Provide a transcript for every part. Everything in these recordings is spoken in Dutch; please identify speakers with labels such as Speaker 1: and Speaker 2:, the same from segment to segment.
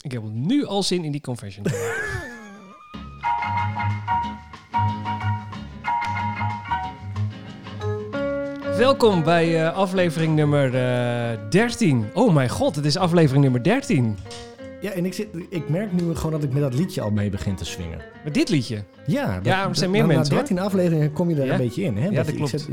Speaker 1: Ik heb nu al zin in die confession. Welkom bij eh, aflevering nummer eh, 13. Oh mijn god, het is aflevering nummer 13.
Speaker 2: Ja, en ik, zit, ik merk nu gewoon dat ik met dat liedje al mee begin te swingen.
Speaker 1: Met dit liedje.
Speaker 2: Ja, dat,
Speaker 1: Ja, maar er zijn meer
Speaker 2: na-
Speaker 1: mensen,
Speaker 2: Na
Speaker 1: hoor.
Speaker 2: 13 afleveringen kom je er
Speaker 1: Ja.
Speaker 2: een beetje in. Hè?
Speaker 1: Ja,
Speaker 2: Dat
Speaker 1: dat
Speaker 2: je-
Speaker 1: klopt.
Speaker 2: Ik zit,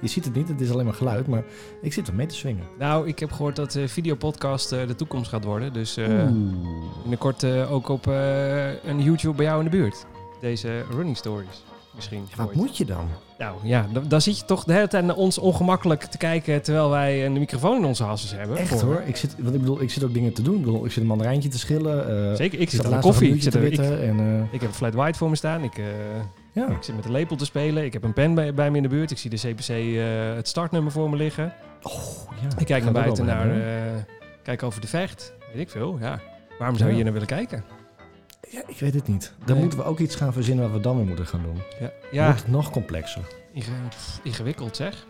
Speaker 2: je ziet het niet, het is alleen maar geluid, maar ik zit er mee te swingen.
Speaker 1: Nou, ik heb gehoord dat eh videopodcast eh, de toekomst gaat worden. Dus eh,
Speaker 2: Oeh.
Speaker 1: binnenkort eh, ook op eh, een YouTube bij jou in de buurt. Deze running stories. Misschien.
Speaker 2: Ja, wat
Speaker 1: ooit.
Speaker 2: moet je dan?
Speaker 1: Nou ja, dan, dan zit je toch de hele tijd naar ons ongemakkelijk te kijken terwijl wij een microfoon in onze hassen hebben.
Speaker 2: Echt
Speaker 1: Voor-
Speaker 2: hoor, ik zit, want ik bedoel, ik zit ook dingen te doen. Ik, bedoel, ik zit een mandarijntje te schillen. eh,
Speaker 1: Zeker, ik zit
Speaker 2: zat
Speaker 1: aan de
Speaker 2: laatst nog
Speaker 1: koffie.
Speaker 2: een
Speaker 1: Ik, zit
Speaker 2: muurtje
Speaker 1: er,
Speaker 2: te
Speaker 1: ik,
Speaker 2: witten en, eh,
Speaker 1: ik heb een flat white voor me staan. Ik, eh,
Speaker 2: ja.
Speaker 1: ik zit met een lepel te spelen. Ik heb een pen bij, bij me in de buurt. Ik zie de CPC eh, het startnummer voor me liggen.
Speaker 2: ja.
Speaker 1: Ik kijk
Speaker 2: Gaan
Speaker 1: naar
Speaker 2: we
Speaker 1: buiten,
Speaker 2: ook wel
Speaker 1: naar,
Speaker 2: hebben, hè?
Speaker 1: eh, kijk over de vecht. Weet ik veel, ja. Waarom zou je
Speaker 2: Ja.
Speaker 1: hier naar willen kijken?
Speaker 2: Ja, ik weet het niet. Dan
Speaker 1: Nee.
Speaker 2: moeten we ook iets gaan verzinnen wat we dan weer moeten gaan doen.
Speaker 1: Ja,
Speaker 2: Wordt
Speaker 1: ja
Speaker 2: het nog complexer.
Speaker 1: inge- pff, ingewikkeld zeg.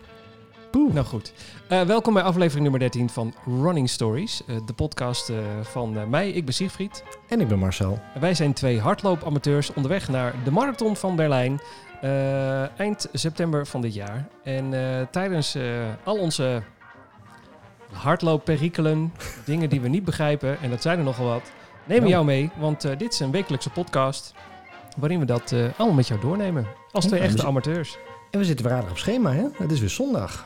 Speaker 2: Poeh.
Speaker 1: Nou goed. Eh, welkom bij aflevering nummer 13 van Running Stories. eh, de podcast eh, van eh, mij, ik ben Siegfried.
Speaker 2: En ik ben Marcel.
Speaker 1: Wij zijn twee hardloopamateurs onderweg naar de Marathon van Berlijn. eh, eind september van dit jaar. En eh, tijdens eh, al onze hardloopperikelen, dingen die we niet begrijpen, en dat zijn er nogal wat, nemen we
Speaker 2: Ja.
Speaker 1: jou mee. Want eh, dit is een wekelijkse podcast waarin we dat eh, allemaal met jou doornemen. Als twee
Speaker 2: Oké,
Speaker 1: echte
Speaker 2: dus-
Speaker 1: amateurs.
Speaker 2: En we zitten weer aardig op schema, hè? Het is weer zondag.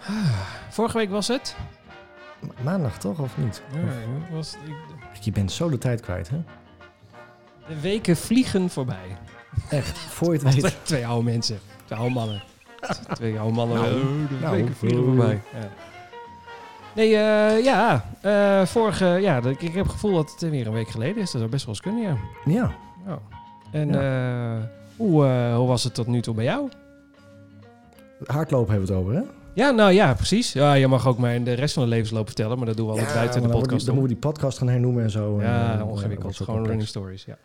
Speaker 1: Vorige week was het.
Speaker 2: Ma- Maandag toch, of niet?
Speaker 1: was,
Speaker 2: Dus Je bent zo de tijd kwijt, hè?
Speaker 1: de weken vliegen voorbij.
Speaker 2: Echt, voor je het
Speaker 1: Twee,
Speaker 2: weet.
Speaker 1: twee oude mensen. Twee oude mannen. Twee oude mannen.
Speaker 2: Nou,
Speaker 1: Eh, de
Speaker 2: nou,
Speaker 1: weken vliegen
Speaker 2: eh.
Speaker 1: voorbij. Ja. Nee, eh, ja. eh, vorige, ja, dat- ik, ik heb het gevoel dat het weer een week geleden is. Dat zou best wel eens kunnen, ja.
Speaker 2: Ja,
Speaker 1: Ja. En eh, hoe, eh, hoe was het tot nu toe bij jou?
Speaker 2: hardlopen hebben we het over, hè?
Speaker 1: Ja, nou ja, precies. Ja, je mag ook mijn de rest van de levensloop vertellen, maar dat doen we altijd
Speaker 2: Ja,
Speaker 1: buiten
Speaker 2: maar
Speaker 1: de
Speaker 2: dan wordt
Speaker 1: podcast.
Speaker 2: die- Dan
Speaker 1: om.
Speaker 2: moeten we die podcast gaan hernoemen en zo. En, eh,
Speaker 1: ja,
Speaker 2: dan
Speaker 1: ongewikkeld.
Speaker 2: wordt het
Speaker 1: Gewoon
Speaker 2: complex.
Speaker 1: running stories, ja.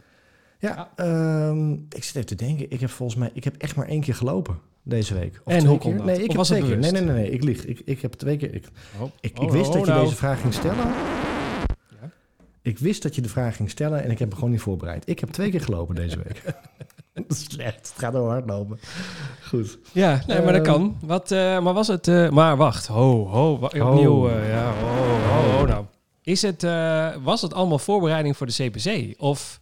Speaker 2: Ja, ehm, ik zit even te denken. Ik heb volgens mij ik heb echt maar één keer gelopen deze week.
Speaker 1: En
Speaker 2: twee
Speaker 1: hoe kon
Speaker 2: keer.
Speaker 1: dat?
Speaker 2: Nee,
Speaker 1: Of
Speaker 2: ik heb
Speaker 1: was het
Speaker 2: twee keer. Nee,
Speaker 1: bewust?
Speaker 2: nee, nee, nee, ik lieg. Ik, ik heb twee keer... Ik,
Speaker 1: Oh,
Speaker 2: ik, ik
Speaker 1: oh,
Speaker 2: wist
Speaker 1: oh,
Speaker 2: dat je
Speaker 1: nou.
Speaker 2: deze vraag ging stellen.
Speaker 1: Ja.
Speaker 2: Ik wist dat je de vraag ging stellen en ik heb me gewoon niet voorbereid. Ik heb twee keer gelopen deze week. Dat is Slecht, het gaat wel hardlopen. Goed.
Speaker 1: Ja, nee, maar dat
Speaker 2: Eh,
Speaker 1: kan. Wat, eh, maar was het... eh, maar wacht, ho, ho, wa-
Speaker 2: Ho.
Speaker 1: opnieuw. eh, ja, ho, ho, ho, nou. Is het, eh, was het allemaal voorbereiding voor de CPC? Of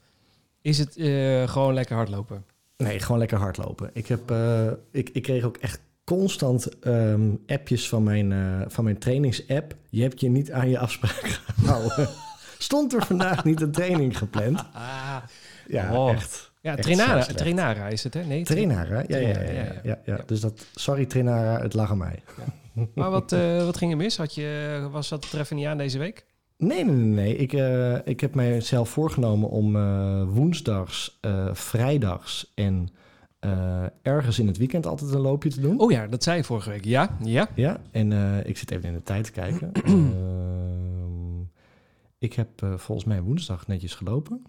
Speaker 1: is het eh, gewoon lekker hardlopen?
Speaker 2: Nee, gewoon lekker hardlopen. Ik, heb, eh, ik, ik kreeg ook echt constant ehm, appjes van mijn, eh, van mijn trainingsapp. Je hebt je niet aan je afspraak gehouden. Stond er vandaag niet een training gepland? Ja,
Speaker 1: Oh.
Speaker 2: echt.
Speaker 1: Ja,
Speaker 2: Echt
Speaker 1: Trainara,
Speaker 2: zo slecht.
Speaker 1: Trainara is het, hè? Nee,
Speaker 2: Trainara? Ja, ja, ja,
Speaker 1: Trainara,
Speaker 2: ja,
Speaker 1: ja,
Speaker 2: ja,
Speaker 1: ja.
Speaker 2: ja. Dus dat, sorry Trainara, het lag aan mij.
Speaker 1: Maar wat, eh, wat ging er mis? Had je, was dat treffen niet aan deze week?
Speaker 2: Nee, nee, nee. nee. Ik, eh, ik heb mijzelf voorgenomen om eh, woensdags, eh, vrijdags en eh, ergens in het weekend altijd een loopje te doen.
Speaker 1: Oh ja, dat zei je vorige week. Ja, ja.
Speaker 2: Ja, en eh, ik zit even in de tijd te kijken. Ehm, ik heb eh, volgens mij woensdag netjes gelopen.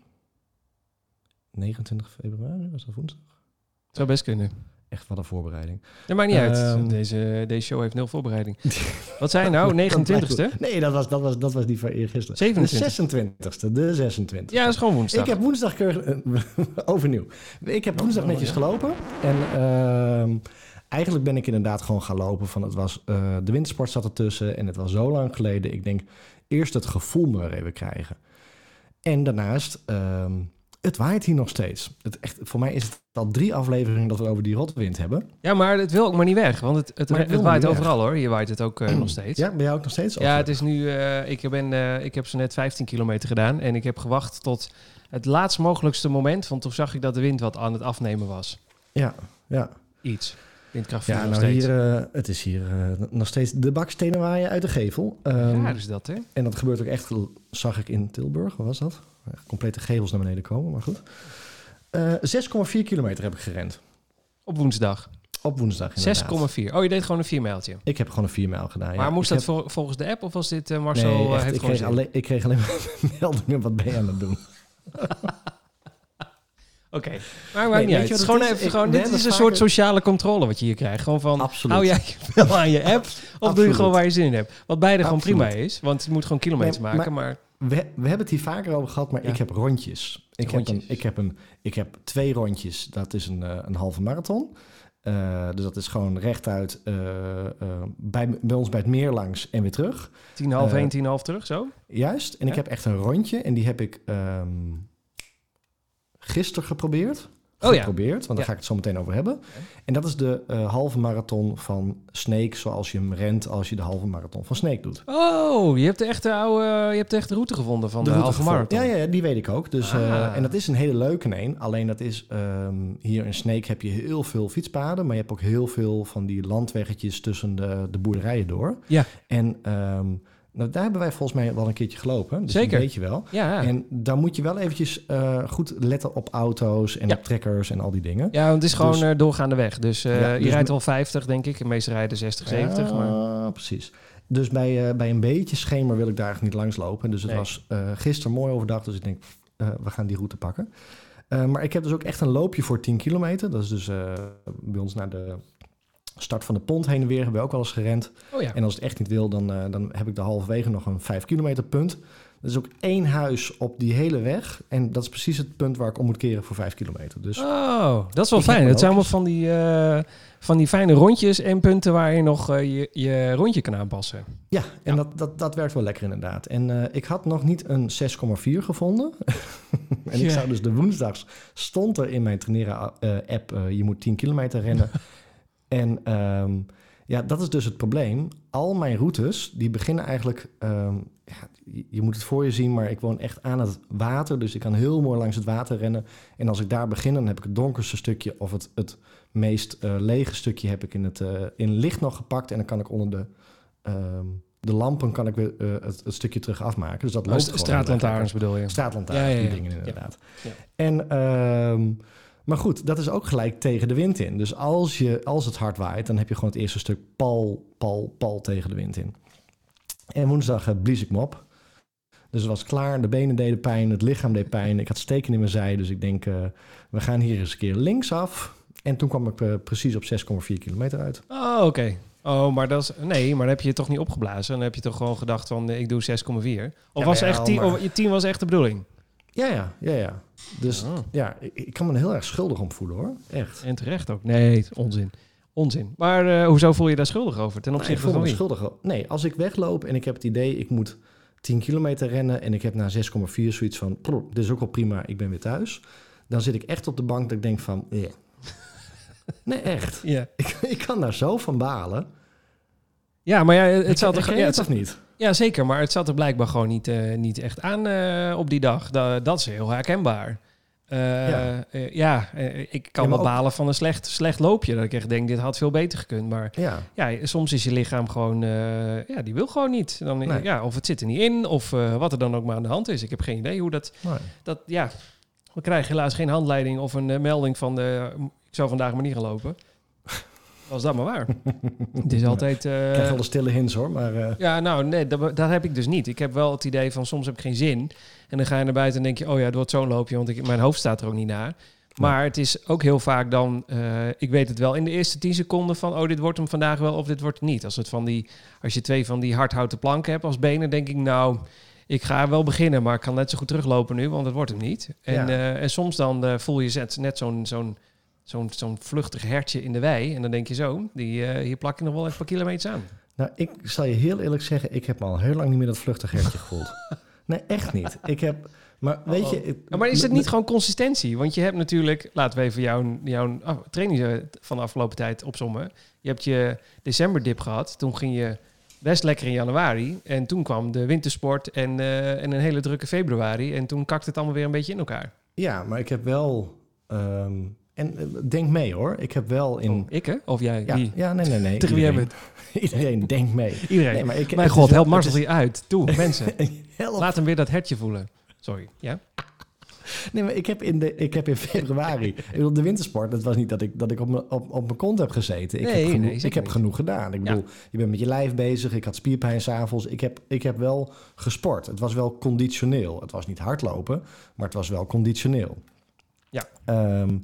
Speaker 2: 29 februari was dat woensdag.
Speaker 1: Zou best kunnen.
Speaker 2: Echt wat een voorbereiding.
Speaker 1: Dat maakt niet
Speaker 2: Ehm.
Speaker 1: uit. Deze, deze show heeft nul voorbereiding. Wat zei je nou? 29ste?
Speaker 2: Nee, dat was, dat was, dat was die van eergisteren. De
Speaker 1: 27
Speaker 2: 26e, de 26e.
Speaker 1: Ja, dat is gewoon woensdag.
Speaker 2: Ik heb woensdag keurig, eh, overnieuw. Ik heb woensdag
Speaker 1: oh,
Speaker 2: netjes
Speaker 1: ja.
Speaker 2: gelopen. En ehm, eigenlijk ben ik inderdaad gewoon gaan lopen. Van het was, eh, de wintersport zat ertussen en het was zo lang geleden. Ik denk eerst het gevoel maar even krijgen. En daarnaast, ehm, het waait hier nog steeds. Het echt, voor mij is het al drie afleveringen dat we over die rotwind hebben.
Speaker 1: Ja, maar het wil ook maar niet weg. Want het, het,
Speaker 2: Maar het
Speaker 1: het,
Speaker 2: wil
Speaker 1: waait
Speaker 2: niet weg.
Speaker 1: overal hoor. Je waait het ook eh, nog steeds.
Speaker 2: Ja, ben jij ook nog steeds?
Speaker 1: Ja, het is nu. eh, ik, ben, eh, ik heb zo net 15 kilometer gedaan. En ik heb gewacht tot het laatst mogelijkste moment. Want toen zag ik dat de wind wat aan het afnemen was.
Speaker 2: ja, ja.
Speaker 1: Iets. Windkracht vier
Speaker 2: ja
Speaker 1: nog
Speaker 2: nou
Speaker 1: steeds.
Speaker 2: hier, eh, het is hier eh, nog steeds de bakstenen waaien uit de gevel. Ehm,
Speaker 1: ja, dus dat hè.
Speaker 2: En dat gebeurt ook echt, zag ik in Tilburg, wat was dat? Echt Complete gevels naar beneden komen, maar goed. Eh, 6,4 kilometer heb ik gerend.
Speaker 1: Op woensdag. 6,4.
Speaker 2: Op woensdag inderdaad.
Speaker 1: Oh, je deed gewoon een 4 mijltje.
Speaker 2: Ik heb gewoon een 4 mijl gedaan. ja.
Speaker 1: maar moest
Speaker 2: Ik
Speaker 1: dat vol- volgens de app of was dit eh,
Speaker 2: heb-
Speaker 1: Marcel?
Speaker 2: nee,
Speaker 1: eh,
Speaker 2: echt,
Speaker 1: heeft
Speaker 2: ik,
Speaker 1: gewoon
Speaker 2: kreeg
Speaker 1: zin?
Speaker 2: alleen, ik kreeg alleen maar meldingen, wat ben je aan het doen?
Speaker 1: Oké. Maar maakt
Speaker 2: weet
Speaker 1: niet uit.
Speaker 2: je wat
Speaker 1: Het is gewoon
Speaker 2: het is?
Speaker 1: even,
Speaker 2: Ik-
Speaker 1: gewoon,
Speaker 2: we
Speaker 1: dit
Speaker 2: hebben
Speaker 1: is een
Speaker 2: vaker-
Speaker 1: soort sociale controle wat je hier krijgt. Gewoon van,
Speaker 2: Absoluut.
Speaker 1: hou jij je wel aan je app of doe je
Speaker 2: Absoluut.
Speaker 1: gewoon waar je zin in hebt. Wat beide gewoon
Speaker 2: Absoluut.
Speaker 1: prima is, want je moet gewoon kilometers
Speaker 2: Nee,
Speaker 1: maken. Maar,
Speaker 2: we, we hebben het hier vaker over gehad, maar
Speaker 1: Ja.
Speaker 2: ik heb rondjes. Ik, Heb
Speaker 1: Rondjes.
Speaker 2: een, ik, heb een, ik heb twee rondjes. Dat is een, eh, een halve marathon. Eh, dus dat is gewoon rechtuit eh, eh, bij, bij ons bij het meer langs en weer terug.
Speaker 1: Tien half
Speaker 2: Eh,
Speaker 1: heen, tien half terug, zo?
Speaker 2: Juist. En ik
Speaker 1: Ja.
Speaker 2: heb echt een rondje. En die heb ik ehm gisteren geprobeerd.
Speaker 1: Oh ja.
Speaker 2: Geprobeerd, want daar
Speaker 1: Ja.
Speaker 2: ga ik het zo meteen over hebben. En dat is de eh, halve marathon van Snake, zoals je hem rent als je de halve marathon van Snake doet.
Speaker 1: Oh, je hebt de echte oude, je hebt de echte route gevonden van de,
Speaker 2: route
Speaker 1: halve
Speaker 2: gevolgd.
Speaker 1: marathon.
Speaker 2: Ja, ja, ja, die weet ik ook. Dus, eh,
Speaker 1: Ah.
Speaker 2: en dat is een hele leuke een. Alleen dat is ehm, hier in Sneek heb je heel veel fietspaden. Maar je hebt ook heel veel van die landweggetjes tussen de, de boerderijen door.
Speaker 1: Ja.
Speaker 2: En ehm, nou, daar hebben wij volgens mij wel een keertje gelopen. Dus
Speaker 1: Zeker.
Speaker 2: Dat weet je wel.
Speaker 1: Ja, ja.
Speaker 2: En daar moet je wel eventjes eh, goed letten op auto's en
Speaker 1: Ja.
Speaker 2: op trekkers en al die dingen.
Speaker 1: want het is gewoon
Speaker 2: Dus-
Speaker 1: eh, doorgaande weg. Dus eh,
Speaker 2: Ja,
Speaker 1: je
Speaker 2: dus
Speaker 1: rijdt
Speaker 2: me-
Speaker 1: wel 50, denk ik. De meeste rijden 60, 70. maar...
Speaker 2: Ja, precies. Dus bij, eh, bij een beetje schemer wil ik daar eigenlijk niet langs lopen. Dus het
Speaker 1: Nee.
Speaker 2: was eh gisteren mooi overdag, dus ik denk, pff, eh, we gaan die route pakken. Eh, maar ik heb dus ook echt een loopje voor 10 kilometer. Dat is dus eh, bij ons naar de start van de pont heen en weer hebben we ook wel eens gerend.
Speaker 1: Oh ja.
Speaker 2: En als het echt niet wil, dan, eh, dan heb ik de halverwege nog een 5 kilometer punt. Er is ook één huis op die hele weg. En dat is precies het punt waar ik om moet keren voor 5 kilometer. Dus
Speaker 1: Oh, dat is wel
Speaker 2: Ik
Speaker 1: fijn.
Speaker 2: heb
Speaker 1: Dat
Speaker 2: er
Speaker 1: zijn
Speaker 2: ook
Speaker 1: allemaal van die, eh, van die fijne rondjes en punten waar je nog eh, je, je rondje kan aanpassen.
Speaker 2: Ja,
Speaker 1: Ja.
Speaker 2: en Dat, dat, dat werkt wel lekker inderdaad. En eh, ik had nog niet een 6,4 gevonden. en
Speaker 1: Ja.
Speaker 2: ik zou dus de woensdags... stond er in mijn traineren-app... eh, je moet 10 kilometer rennen. en ehm, ja, dat is dus het probleem. Al mijn routes, die beginnen eigenlijk... ehm, ja, je- je moet het voor je zien, maar ik woon echt aan het water. Dus ik kan heel mooi langs het water rennen. En als ik daar begin, dan heb ik het donkerste stukje... of het, het meest eh, lege stukje heb ik in het eh, in licht nog gepakt. En dan kan ik onder de... ehm, de lampen kan ik weer eh, het, het stukje terug afmaken. Dus dat loopt
Speaker 1: Oh, St-
Speaker 2: gewoon
Speaker 1: Straatlantaarns bedoel je.
Speaker 2: straatlantaarn,
Speaker 1: Ja, ja, ja.
Speaker 2: die dingen inderdaad.
Speaker 1: Ja.
Speaker 2: En, ehm, maar goed, dat is ook gelijk tegen de wind in. Dus als, je, als het hard waait, dan heb je gewoon het eerste stuk pal, pal, pal tegen de wind in. En woensdag eh, blies ik me op. Dus het was klaar, de benen deden pijn, het lichaam deed pijn. Ik had steken in mijn zij, dus ik denk, eh, we gaan hier eens een keer linksaf. En toen kwam ik eh, precies op 6,4 kilometer uit.
Speaker 1: Oh, oké. Oh, maar dat is... Nee, maar dan heb je je toch niet opgeblazen. Dan heb je toch gewoon gedacht van, eh, ik doe 6,4. Of
Speaker 2: Ja,
Speaker 1: was
Speaker 2: maar ja,
Speaker 1: echt 10,
Speaker 2: maar-
Speaker 1: of je 10 was echt de bedoeling?
Speaker 2: Ja, ja, ja, ja. Dus
Speaker 1: Oh.
Speaker 2: ja, ik, ik kan me er heel erg schuldig om voelen hoor. Echt.
Speaker 1: En terecht ook. Nee, onzin. Onzin. Maar eh, hoezo voel je daar schuldig over? Ten
Speaker 2: Nee, ik
Speaker 1: opzichte
Speaker 2: voel
Speaker 1: van
Speaker 2: me
Speaker 1: wie?
Speaker 2: schuldig. Nee, als ik wegloop en ik heb het idee, ik moet 10 kilometer rennen en ik heb na 6,4 zoiets van, "Prr, dit is ook wel prima, ik ben weer thuis. Dan zit ik echt op de bank dat ik denk van, "Eh." nee echt,
Speaker 1: Ja.
Speaker 2: ik, ik kan daar zo van balen.
Speaker 1: ja, maar ja, het zat
Speaker 2: Herken
Speaker 1: er...
Speaker 2: je
Speaker 1: Ja,
Speaker 2: het
Speaker 1: het
Speaker 2: of niet?
Speaker 1: Ja, zeker. Maar het zat er blijkbaar gewoon niet, eh, niet echt aan eh, op die dag. Da- dat is heel herkenbaar. Eh,
Speaker 2: Ja.
Speaker 1: eh, ja, eh, ik kan
Speaker 2: Ja, maar
Speaker 1: wel
Speaker 2: ook-
Speaker 1: balen van een slecht, slecht loopje. Dat ik echt denk, dit had veel beter gekund. Maar
Speaker 2: Ja,
Speaker 1: ja, soms is je lichaam gewoon... eh, ja, die wil gewoon niet. Dan,
Speaker 2: Nee.
Speaker 1: ja, of het zit er niet in, of eh, wat er dan ook maar aan de hand is. Ik heb geen idee hoe dat...
Speaker 2: nee.
Speaker 1: dat ja, we krijgen helaas geen handleiding of een eh, melding van... De, ik zou vandaag maar niet gaan lopen. Was dat maar waar. het is altijd... eh,
Speaker 2: ik krijg wel de stille hints hoor, maar eh,
Speaker 1: ja, nou, nee, dat, dat heb ik dus niet. Ik heb wel het idee van soms heb ik geen zin. En dan ga je naar buiten en denk je, oh ja, het wordt zo'n loopje, want ik, mijn hoofd staat er ook niet naar. Maar het is ook heel vaak dan, eh, ik weet het wel, in de eerste 10 seconden van, oh, dit wordt hem vandaag wel of dit wordt het niet. Als, het van die, als je twee van die hardhouten planken hebt als benen, denk ik, nou, ik ga wel beginnen, maar ik kan net zo goed teruglopen nu, want het wordt hem niet. En,
Speaker 2: Ja.
Speaker 1: eh, en soms dan eh, voel je zet- net zo'n zo'n zo'n zo'n vluchtig hertje in de wei. En dan denk je zo, die, eh, hier plak je nog wel even een paar kilometers aan.
Speaker 2: nou, ik zal je heel eerlijk zeggen, ik heb me al heel lang niet meer dat vluchtig hertje gevoeld. Nee, echt niet. Ik heb, maar weet
Speaker 1: Oh.
Speaker 2: je... ik-
Speaker 1: Ja, maar is het niet gewoon consistentie? Want je hebt natuurlijk, laten we even jouw, jouw af- training eh, van de afgelopen tijd opzommen. Je hebt je decemberdip gehad. Toen ging je best lekker in januari. En toen kwam de wintersport en, eh, en een hele drukke februari. En toen kakte het allemaal weer een beetje in elkaar.
Speaker 2: Ja, maar ik heb wel. ehm, en eh, denk mee hoor. Ik heb wel
Speaker 1: Oh,
Speaker 2: in.
Speaker 1: ik hè? Of jij?
Speaker 2: Ja,
Speaker 1: wie?
Speaker 2: ja nee, nee, nee.
Speaker 1: Tegen wie hebben
Speaker 2: iedereen,
Speaker 1: we
Speaker 2: iedereen denkt mee.
Speaker 1: het? Iedereen.
Speaker 2: Nee, maar ik,
Speaker 1: Mijn
Speaker 2: het
Speaker 1: god,
Speaker 2: is wel-
Speaker 1: help Marcel
Speaker 2: het is-
Speaker 1: hier uit. Toe, mensen.
Speaker 2: Help.
Speaker 1: Laat hem weer dat hertje voelen. Sorry. Ja?
Speaker 2: Nee, maar ik heb in, de, ik heb in februari. ik bedoel, de wintersport, dat was niet dat ik, dat ik op, mijn- op, op mijn kont heb gezeten. Ik
Speaker 1: Nee,
Speaker 2: heb, genoeg,
Speaker 1: nee, zeker
Speaker 2: ik heb
Speaker 1: niet.
Speaker 2: genoeg gedaan. Ik
Speaker 1: Ja.
Speaker 2: bedoel, je bent met je lijf bezig. Ik had spierpijn s'avonds. Ik heb, ik heb wel gesport. Het was wel conditioneel. Het was niet hardlopen, maar het was wel conditioneel.
Speaker 1: Ja.
Speaker 2: Ehm,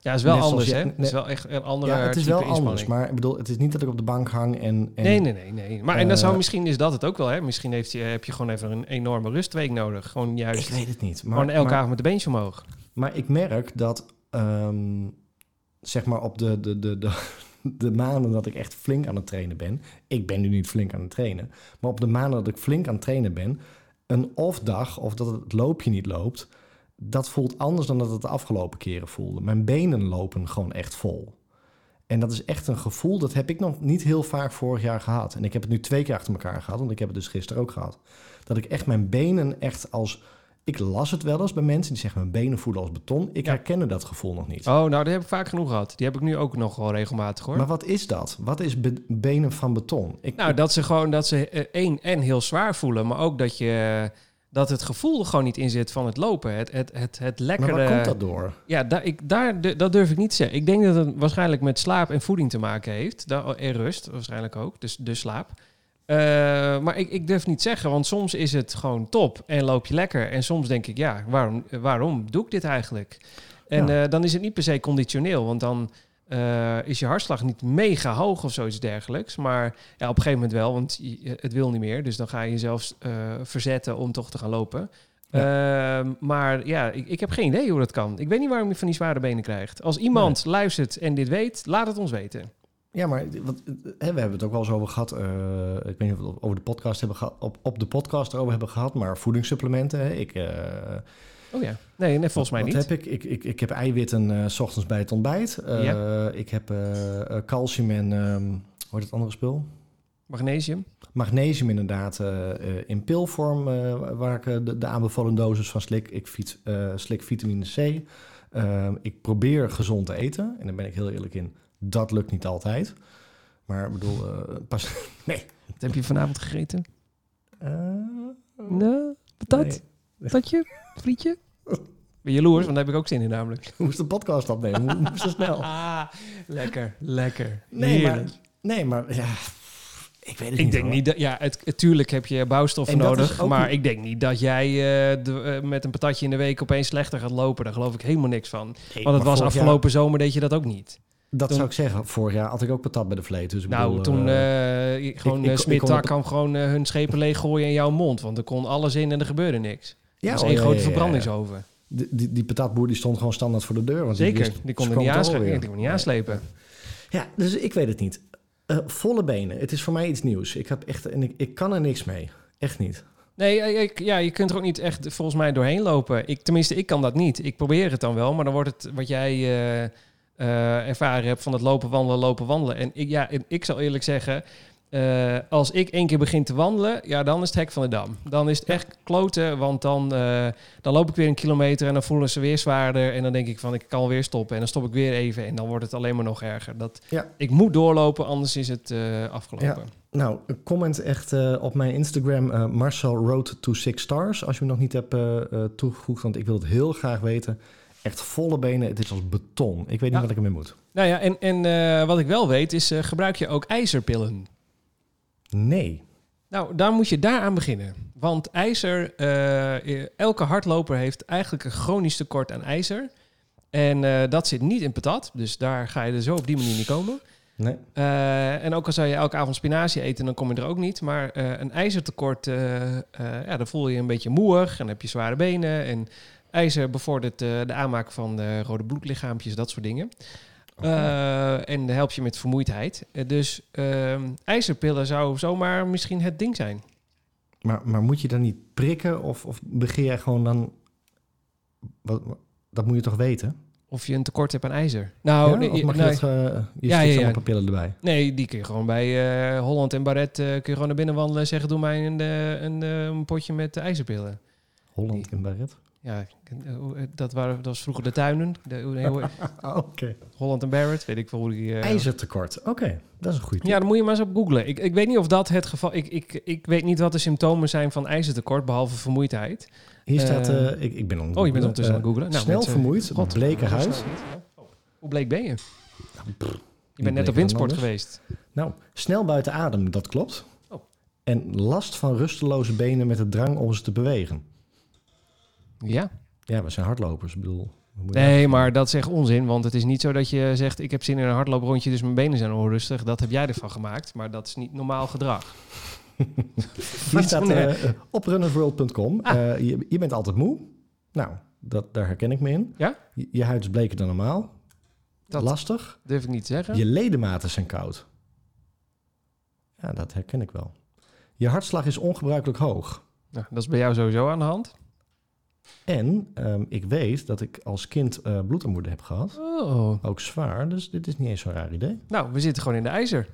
Speaker 1: Ja, is wel
Speaker 2: Net zoals
Speaker 1: anders,
Speaker 2: je-
Speaker 1: hè?
Speaker 2: net-
Speaker 1: is wel echt een andere
Speaker 2: ja, het is
Speaker 1: type
Speaker 2: wel
Speaker 1: inspanning.
Speaker 2: anders. Maar ik bedoel, het is niet dat ik op de bank hang en... en
Speaker 1: nee, nee, nee, nee. Maar en dan
Speaker 2: Eh,
Speaker 1: zou misschien is dat het ook wel, hè? Misschien heeft je, heb je gewoon even een enorme rustweek nodig. Gewoon
Speaker 2: Ik
Speaker 1: juist,
Speaker 2: weet het niet. Maar,
Speaker 1: gewoon elke
Speaker 2: maar,
Speaker 1: avond met de beentje omhoog.
Speaker 2: maar ik merk dat, ehm, zeg maar, op de, de, de, de, de maanden dat ik echt flink aan het trainen ben... Ik ben nu niet flink aan het trainen. Maar op de maanden dat ik flink aan het trainen ben... Een off-dag, of dat het loopje niet loopt... Dat voelt anders dan dat het de afgelopen keren voelde. Mijn benen lopen gewoon echt vol. En dat is echt een gevoel, dat heb ik nog niet heel vaak vorig jaar gehad. En ik heb het nu twee keer achter elkaar gehad, want ik heb het dus gisteren ook gehad. Dat ik echt mijn benen echt als... Ik las het wel eens bij mensen die zeggen mijn benen voelen als beton. Ik
Speaker 1: Ja.
Speaker 2: herkende dat gevoel nog niet.
Speaker 1: Oh, nou, dat heb ik vaak genoeg gehad. Die heb ik nu ook nog wel regelmatig, hoor.
Speaker 2: Maar wat is dat? Wat is be- benen van beton? Ik,
Speaker 1: Nou, dat ze gewoon dat ze eh, één en heel zwaar voelen, maar ook dat je dat het gevoel er gewoon niet in zit van het lopen, het het het, het
Speaker 2: maar
Speaker 1: lekkere.
Speaker 2: waar komt dat door?
Speaker 1: Ja, daar, ik, daar, du- dat durf ik niet te zeggen. Ik denk dat het waarschijnlijk met slaap en voeding te maken heeft. Daar, en rust waarschijnlijk ook, dus, dus slaap. Eh, maar ik, ik durf niet zeggen, want soms is het gewoon top en loop je lekker. En soms denk ik, ja, waarom, eh, waarom doe ik dit eigenlijk? En eh, dan is het niet per se conditioneel, want dan eh, is je hartslag niet mega hoog of zoiets dergelijks. Maar ja, op een gegeven moment wel, want je- het wil niet meer. Dus dan ga je jezelf eh, verzetten om toch te gaan lopen. Ehm, maar ja, ik, ik heb geen idee hoe dat kan. Ik weet niet waarom je van die zware benen krijgt. Als iemand luistert en dit weet, laat het ons weten.
Speaker 2: Ja, maar wat, hè, we hebben het ook wel eens over gehad. eh, ik weet niet of we het over de podcast hebben gehad, op, op de podcast erover hebben gehad, maar voedingssupplementen. Hè, ik, eh,
Speaker 1: Oh ja, nee, nee volgens mij
Speaker 2: Wat
Speaker 1: niet.
Speaker 2: heb ik? Ik, ik, ik heb eiwitten eh, s ochtends bij het ontbijt. Eh, Ik heb eh, eh, calcium en, ehm hoe heet het andere spul?
Speaker 1: Magnesium.
Speaker 2: Magnesium inderdaad eh, eh, in pilvorm, eh, waar ik eh, de, de aanbevolen dosis van slik. Ik fiet, eh, slik vitamine C. Eh, ik probeer gezond te eten. En daar ben ik heel eerlijk in, dat lukt niet altijd. Maar ik bedoel, eh, pas... Nee.
Speaker 1: Wat heb je vanavond gegeten?
Speaker 2: Eh,
Speaker 1: Nou, patat,
Speaker 2: nee.
Speaker 1: patatje, frietje. Ben je jaloers, want daar heb ik ook zin in namelijk.
Speaker 2: Hoe is de podcast opnemen? Hoe hoe is dat snel?
Speaker 1: Ah, lekker, lekker.
Speaker 2: Nee, maar,
Speaker 1: Heerlijk.
Speaker 2: nee, maar ja, ik weet het
Speaker 1: Ik
Speaker 2: niet.
Speaker 1: denk
Speaker 2: hoor.
Speaker 1: niet dat... Ja, het, het- tuurlijk heb je bouwstoffen
Speaker 2: En dat
Speaker 1: nodig.
Speaker 2: is ook
Speaker 1: Maar
Speaker 2: niet-
Speaker 1: ik denk niet dat jij eh, de- eh, met een patatje in de week opeens slechter gaat lopen. Daar geloof ik helemaal niks van.
Speaker 2: Nee,
Speaker 1: Want het
Speaker 2: maar
Speaker 1: was
Speaker 2: vorig jaar-
Speaker 1: afgelopen zomer deed je dat ook niet.
Speaker 2: Dat
Speaker 1: Toen-
Speaker 2: zou ik zeggen. Vorig jaar had ik ook patat bij de vleet. Dus ik
Speaker 1: nou,
Speaker 2: bedoel,
Speaker 1: toen
Speaker 2: eh,
Speaker 1: eh, gewoon
Speaker 2: ik-
Speaker 1: eh,
Speaker 2: ik
Speaker 1: Smit
Speaker 2: kon op-
Speaker 1: daar kwam gewoon eh, hun schepen leeggooien in jouw mond. Want er kon alles in en er gebeurde niks. Ja, dat was één
Speaker 2: oh, ja,
Speaker 1: grote
Speaker 2: ja, ja, ja.
Speaker 1: verbrandingsoven.
Speaker 2: Die, die, die patatboer die stond gewoon standaard voor de deur. Want
Speaker 1: Zeker,
Speaker 2: wist-
Speaker 1: die
Speaker 2: ze
Speaker 1: kon er
Speaker 2: kwam
Speaker 1: niet,
Speaker 2: toch
Speaker 1: aansle-
Speaker 2: alweer.
Speaker 1: die kon er niet aanslepen.
Speaker 2: Ja, dus ik weet het niet. Eh, volle benen. Het is voor mij iets nieuws. Ik, heb echt, en ik, ik kan er niks mee. Echt niet.
Speaker 1: Nee, eh, ik- ja, je kunt er ook niet echt volgens mij doorheen lopen. Ik, tenminste, ik kan dat niet. Ik probeer het dan wel, maar dan wordt het wat jij eh, eh, ervaren hebt van het lopen, wandelen, lopen, wandelen. En ik, ja, en ik zal eerlijk zeggen, eh, als ik één keer begin te wandelen, ja, dan is het hek van de dam. Dan is het echt kloten, want dan, eh, dan loop ik weer een kilometer en dan voelen ze weer zwaarder. En dan denk ik van, ik kan weer stoppen. En dan stop ik weer even en dan wordt het alleen maar nog erger. Dat,
Speaker 2: Ja.
Speaker 1: Ik moet doorlopen, anders is het eh, afgelopen.
Speaker 2: Nou, comment echt eh, op mijn Instagram eh, Marcel Road to Six Stars. Als je hem nog niet hebt eh, eh, toegevoegd, want ik wil het heel graag weten. Echt volle benen. Het is als beton. Ik weet niet
Speaker 1: Ja.
Speaker 2: wat ik ermee moet.
Speaker 1: Nou ja, en, en eh, wat ik wel weet is, eh, gebruik je ook ijzerpillen?
Speaker 2: Nee.
Speaker 1: Nou, daar moet je daaraan beginnen. Want ijzer, eh, eh, elke hardloper heeft eigenlijk een chronisch tekort aan ijzer. En eh, dat zit niet in patat, dus daar ga je er zo op die manier niet komen.
Speaker 2: Nee.
Speaker 1: Eh, en ook al zou je elke avond spinazie eten, dan kom je er ook niet. Maar eh, een ijzertekort, eh, eh, ja, dan voel je je een beetje moeig en heb je zware benen. En ijzer bevordert eh, de aanmaak van eh, rode bloedlichaampjes, dat soort dingen.
Speaker 2: Oh,
Speaker 1: Eh, en helpt je met vermoeidheid. Eh, dus ehm, ijzerpillen zou zomaar misschien het ding zijn.
Speaker 2: Maar, maar moet je dan niet prikken of, of begeer jij gewoon dan... Wat, dat moet je toch weten?
Speaker 1: Of je een tekort hebt aan ijzer. Nou,
Speaker 2: ja?
Speaker 1: nee,
Speaker 2: Of mag je
Speaker 1: nee.
Speaker 2: dat... eh, je
Speaker 1: Ja,
Speaker 2: ja,
Speaker 1: ja, ja.
Speaker 2: allemaal papillen erbij.
Speaker 1: Nee, die kun je gewoon bij eh, Holland en Barret eh, kun je gewoon naar binnen wandelen en zeggen: doe mij een, eh, een, eh, een potje met ijzerpillen.
Speaker 2: Holland in Barret.
Speaker 1: Ja, ik- eh, hoe- eh, dat, waren, dat was vroeger de tuinen. De, hoe- nee, hoe-
Speaker 2: Oké.
Speaker 1: Holland en Barrett, weet ik veel hoe die... eh,
Speaker 2: IJzertekort. Oké, dat is een goede tip.
Speaker 1: Ja, dan moet je maar eens op googlen. Ik, ik weet niet of dat het geval... Ik, ik, ik weet niet wat de symptomen zijn van ijzertekort, behalve vermoeidheid.
Speaker 2: Hier staat...
Speaker 1: eh,
Speaker 2: eh, ik, ik ben
Speaker 1: Oh, je bent ondertussen aan het googlen. Nou,
Speaker 2: snel
Speaker 1: met, eh,
Speaker 2: vermoeid,
Speaker 1: God,
Speaker 2: bleke
Speaker 1: zo snel
Speaker 2: huid.
Speaker 1: niet. Oh. Hoe bleek ben je? Je
Speaker 2: bleker
Speaker 1: bent net
Speaker 2: dan
Speaker 1: op windsport
Speaker 2: anders.
Speaker 1: geweest.
Speaker 2: Nou, snel buiten adem, dat klopt.
Speaker 1: Oh.
Speaker 2: En last van rusteloze benen met de drang om ze te bewegen.
Speaker 1: Ja.
Speaker 2: Ja, we zijn hardlopers. Ik bedoel, Wat moet je
Speaker 1: Nee,
Speaker 2: nou-
Speaker 1: maar dat is echt onzin. Want het is niet zo dat je zegt: Ik heb zin in een hardlooprondje, dus mijn benen zijn onrustig. Dat heb jij ervan gemaakt. Maar dat is niet normaal gedrag.
Speaker 2: Hier staat
Speaker 1: Nee.
Speaker 2: eh, op runnersworld.com.
Speaker 1: Ah.
Speaker 2: eh, je, je bent altijd moe. Nou, dat, daar herken ik me in.
Speaker 1: Ja?
Speaker 2: Je, je huid is bleker dan normaal.
Speaker 1: Dat-
Speaker 2: Lastig.
Speaker 1: durf ik niet te zeggen.
Speaker 2: Je ledematen zijn koud. Ja, dat herken ik wel. Je hartslag is ongebruikelijk hoog.
Speaker 1: Nou, dat is bij jou sowieso aan de hand.
Speaker 2: En ehm, ik weet dat ik als kind eh, bloedarmoede heb gehad.
Speaker 1: Oh.
Speaker 2: Ook zwaar, dus dit is niet eens zo'n raar idee.
Speaker 1: Nou, we zitten gewoon in de ijzer.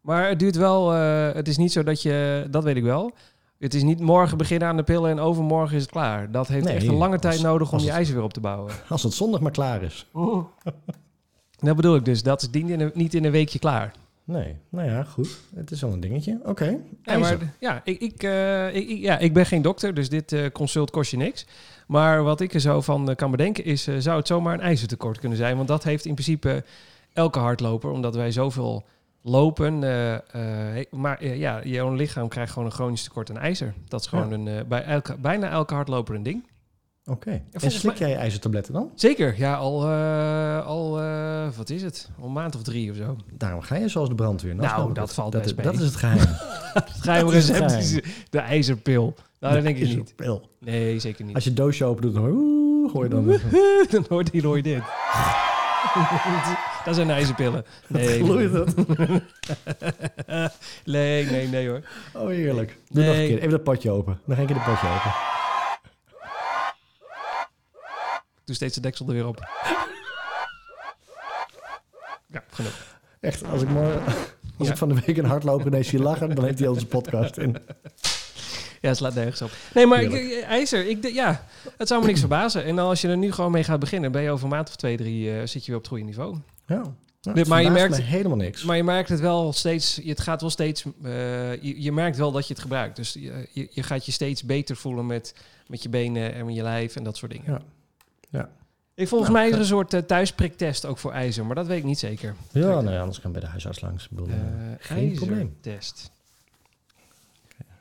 Speaker 1: Maar het duurt wel. eh, het is niet zo dat je. Dat weet ik wel. Het is niet morgen beginnen aan de pillen en overmorgen is het klaar. Dat heeft
Speaker 2: Nee,
Speaker 1: echt een lange
Speaker 2: als-
Speaker 1: tijd nodig om
Speaker 2: als
Speaker 1: je
Speaker 2: het-
Speaker 1: ijzer weer op te bouwen.
Speaker 2: Als het zondag maar klaar is.
Speaker 1: Dat bedoel ik dus. Dat is niet in een, niet in een weekje klaar.
Speaker 2: Nee, nou ja, goed. Het is al een dingetje. Oké.
Speaker 1: Ja, maar,
Speaker 2: ijzer.
Speaker 1: ja, ik, ik, eh, ik, ik- ja, ik ben geen dokter, dus dit eh, consult kost je niks. Maar wat ik er zo van eh, kan bedenken is, eh, zou het zomaar een ijzertekort kunnen zijn? Want dat heeft in principe elke hardloper, omdat wij zoveel lopen. eh, eh, maar eh, ja, jouw lichaam krijgt gewoon een chronisch tekort aan ijzer. Dat is gewoon
Speaker 2: Ja.
Speaker 1: een, eh, bij elke, bijna elke hardloper een ding.
Speaker 2: Oké. En
Speaker 1: volgens
Speaker 2: slik jij je ijzertabletten dan?
Speaker 1: Zeker, ja, al, eh, al eh, wat is het? Al een maand of drie of zo.
Speaker 2: Daarom ga je zoals de brandweer.
Speaker 1: Nou,
Speaker 2: snap ik
Speaker 1: dat
Speaker 2: het.
Speaker 1: valt
Speaker 2: dat
Speaker 1: best
Speaker 2: is,
Speaker 1: mee. Nou,
Speaker 2: Dat is het geheim.
Speaker 1: Geheim
Speaker 2: Dat is het
Speaker 1: recept
Speaker 2: geheim.
Speaker 1: is de ijzerpil. Nou, dat denk ik niet.
Speaker 2: Wel.
Speaker 1: Nee, zeker niet.
Speaker 2: Als je het doosje open doet, dan hoor je, oeh, hoor je dan
Speaker 1: dan hoort hij Roy dit. dat zijn ijzerpillen. Nee,
Speaker 2: gloeit het.
Speaker 1: nee, nee, nee hoor.
Speaker 2: Oh, heerlijk. Doe nog een
Speaker 1: Nee.
Speaker 2: keer. Even dat potje open. Nog een keer dat potje open.
Speaker 1: Ik doe steeds de deksel er weer op. Ja, genoeg.
Speaker 2: Echt, als ik morgen... Als
Speaker 1: Ja.
Speaker 2: ik van de week een hardloper ineens zie lachen, dan heeft hij onze podcast in.
Speaker 1: Ja, het slaat nergens op. Nee, maar ik, eh, ijzer, ik, d- ja, het zou me niks verbazen. En als je er nu gewoon mee gaat beginnen, ben je over een maand of twee, drie, eh, zit je weer op het goede niveau.
Speaker 2: Ja. Nou, het
Speaker 1: maar je
Speaker 2: verbaast
Speaker 1: merkt-
Speaker 2: mij helemaal niks.
Speaker 1: Maar je merkt het wel steeds, het gaat wel steeds, eh, je, je merkt wel dat je het gebruikt. Dus je, je, je gaat je steeds beter voelen met, met je benen en met je lijf en dat soort dingen.
Speaker 2: Ja. Ja.
Speaker 1: Ik, volgens
Speaker 2: Nou,
Speaker 1: mij is er
Speaker 2: dat-
Speaker 1: een soort eh, thuispriktest ook voor ijzer, maar dat weet ik niet zeker.
Speaker 2: ja, nou ja, anders kan bij de huisarts langs. Ik bedoel,
Speaker 1: Eh,
Speaker 2: eh, geen probleem.
Speaker 1: ijzertest.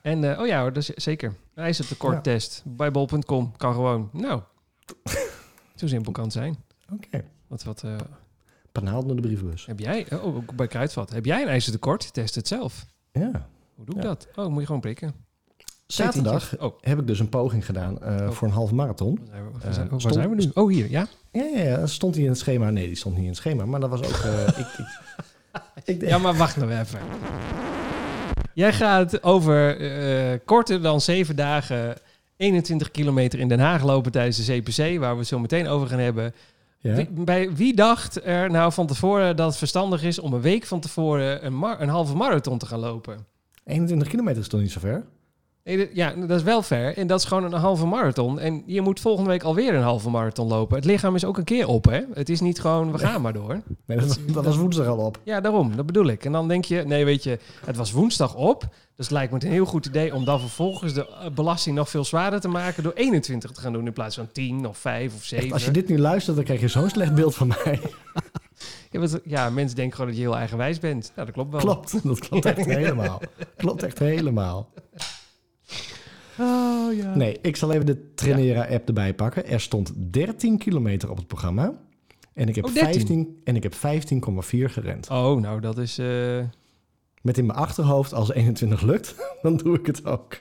Speaker 1: En, eh, oh ja hoor, dat is, zeker. Een ijzertekorttest bij bol.com kan gewoon. Nou, zo simpel kan het zijn.
Speaker 2: Oké.
Speaker 1: Wat, wat eh,
Speaker 2: Panaal naar de brievenbus.
Speaker 1: heb jij, oh, ook bij Kruidvat, heb jij een ijzertekort? Test het zelf.
Speaker 2: Ja.
Speaker 1: Hoe doe ik
Speaker 2: Ja.
Speaker 1: dat? Oh, moet je gewoon prikken.
Speaker 2: Zaterdag
Speaker 1: Oh,
Speaker 2: heb ik dus een poging gedaan eh,
Speaker 1: Oh.
Speaker 2: voor een halve marathon.
Speaker 1: waar zijn we,
Speaker 2: Eh,
Speaker 1: waar zijn, waar
Speaker 2: stond-
Speaker 1: zijn we nu? Oh, hier, ja.
Speaker 2: Ja, ja, ja, stond hij in het schema? Nee, die stond niet in het schema. Maar dat was ook... eh, ik, ik, ik,
Speaker 1: Ja, maar wacht nou even. Jij gaat over eh, korter dan zeven dagen 21 kilometer in Den Haag lopen tijdens de CPC, waar we het zo meteen over gaan hebben.
Speaker 2: Ja?
Speaker 1: Wie, bij wie dacht er nou van tevoren dat het verstandig is om een week van tevoren een, mar- een halve marathon te gaan lopen?
Speaker 2: 21 kilometer is toch niet zo ver?
Speaker 1: Nee, dit- ja, dat is wel ver. En dat is gewoon een halve marathon. En je moet volgende week alweer een halve marathon lopen. Het lichaam is ook een keer op, hè? Het is niet gewoon, we gaan maar door.
Speaker 2: Nee, dat, dat was woensdag al op.
Speaker 1: Ja, daarom. Dat bedoel ik. En dan denk je, nee, weet je, het was woensdag op. Dus het lijkt me een heel goed idee om dan vervolgens de eh, belasting nog veel zwaarder te maken door 21 te gaan doen in plaats van 10 of 5 of 7.
Speaker 2: Echt, als je dit nu luistert, dan krijg je zo'n slecht beeld van mij.
Speaker 1: ja, want, ja, mensen denken gewoon dat je heel eigenwijs bent. Nou, dat klopt wel.
Speaker 2: Klopt, dat klopt echt helemaal. Klopt echt helemaal.
Speaker 1: Oh, ja.
Speaker 2: Nee, ik zal even de Trainera-app erbij pakken. Er stond 13 kilometer op het programma. En ik heb
Speaker 1: Oh, 13.
Speaker 2: 15 en ik heb 15,4 gerend.
Speaker 1: Oh, nou, dat is... eh,
Speaker 2: Met in mijn achterhoofd, als 21 lukt, dan doe ik het ook.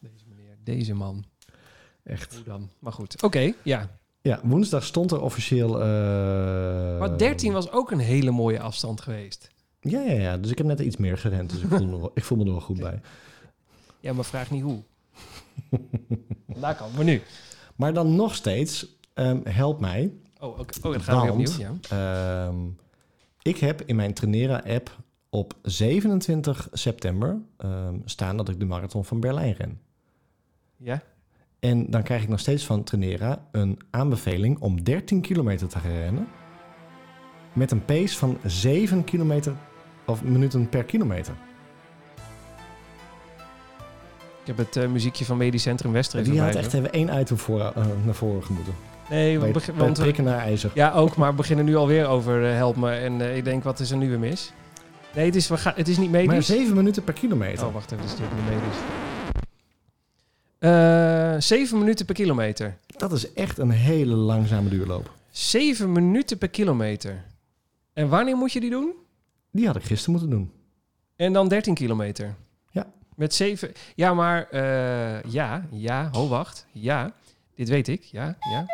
Speaker 1: Deze meneer, deze man.
Speaker 2: Echt.
Speaker 1: Hoe dan? Maar goed, oké, ja.
Speaker 2: Ja, woensdag stond er officieel... eh,
Speaker 1: Maar 13 was ook een hele mooie afstand geweest.
Speaker 2: Ja, ja, ja. Dus ik heb net iets meer gerend. Dus ik voel me, er wel- ik voel me er wel goed bij.
Speaker 1: Ja, maar vraag niet hoe. Daar kan, maar nu.
Speaker 2: Maar dan nog steeds, ehm, help mij.
Speaker 1: Oh, oké. oh dan gaan we weer
Speaker 2: Want-
Speaker 1: opnieuw. Ja.
Speaker 2: Ehm, ik heb in mijn Trainera-app op 27 september ehm, staan dat ik de marathon van Berlijn ren.
Speaker 1: ja?
Speaker 2: En dan krijg ik nog steeds van Trainera een aanbeveling om 13 kilometer te gaan rennen. Met een pace van 7 kilometer of minuten per kilometer.
Speaker 1: Ik heb het eh, muziekje van Medisch Centrum West er even
Speaker 2: Die had
Speaker 1: bij,
Speaker 2: echt
Speaker 1: hoor.
Speaker 2: even één item voor, eh, naar voren gemoeten.
Speaker 1: Nee, we
Speaker 2: Bij,
Speaker 1: beg-
Speaker 2: bij
Speaker 1: want eh, we,
Speaker 2: prikken naar ijzer.
Speaker 1: ja, ook, maar we beginnen nu alweer over eh, help me. En eh, ik denk, wat is er nu weer mis? Nee, het is, we gaan, het is niet
Speaker 2: maar
Speaker 1: medisch.
Speaker 2: 7 minuten per kilometer.
Speaker 1: oh, wacht even, dit is natuurlijk niet medisch. Eh 7 minuten per kilometer.
Speaker 2: Dat is echt een hele langzame duurloop.
Speaker 1: 7 minuten per kilometer. En wanneer moet je die doen?
Speaker 2: Die had ik gisteren moeten doen.
Speaker 1: En dan 13 kilometer.
Speaker 2: Ja.
Speaker 1: Met 7. Ja, maar eh, ja, ja, ho, wacht. Ja, dit weet ik. Ja, ja.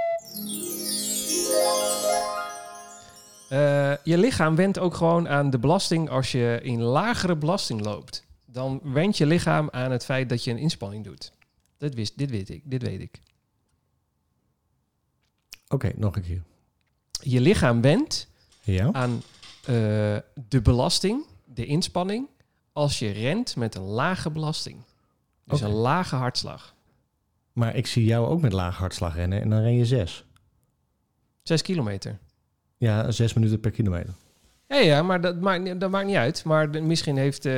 Speaker 1: Eh, je lichaam went ook gewoon aan de belasting als je in lagere belasting loopt. Dan went je lichaam aan het feit dat je een inspanning doet. Dat wist, dit weet ik, dit weet ik.
Speaker 2: Oké, nog een keer.
Speaker 1: Je lichaam went
Speaker 2: Ja?
Speaker 1: aan eh, de belasting, de inspanning, als je rent met een lage belasting. Dus
Speaker 2: Oké.
Speaker 1: een lage hartslag.
Speaker 2: Maar ik zie jou ook met laag hartslag rennen en dan ren je zes.
Speaker 1: Zes kilometer.
Speaker 2: Ja, zes minuten per kilometer.
Speaker 1: Ja, ja maar dat maakt, dat maakt niet uit. Maar de- misschien heeft, eh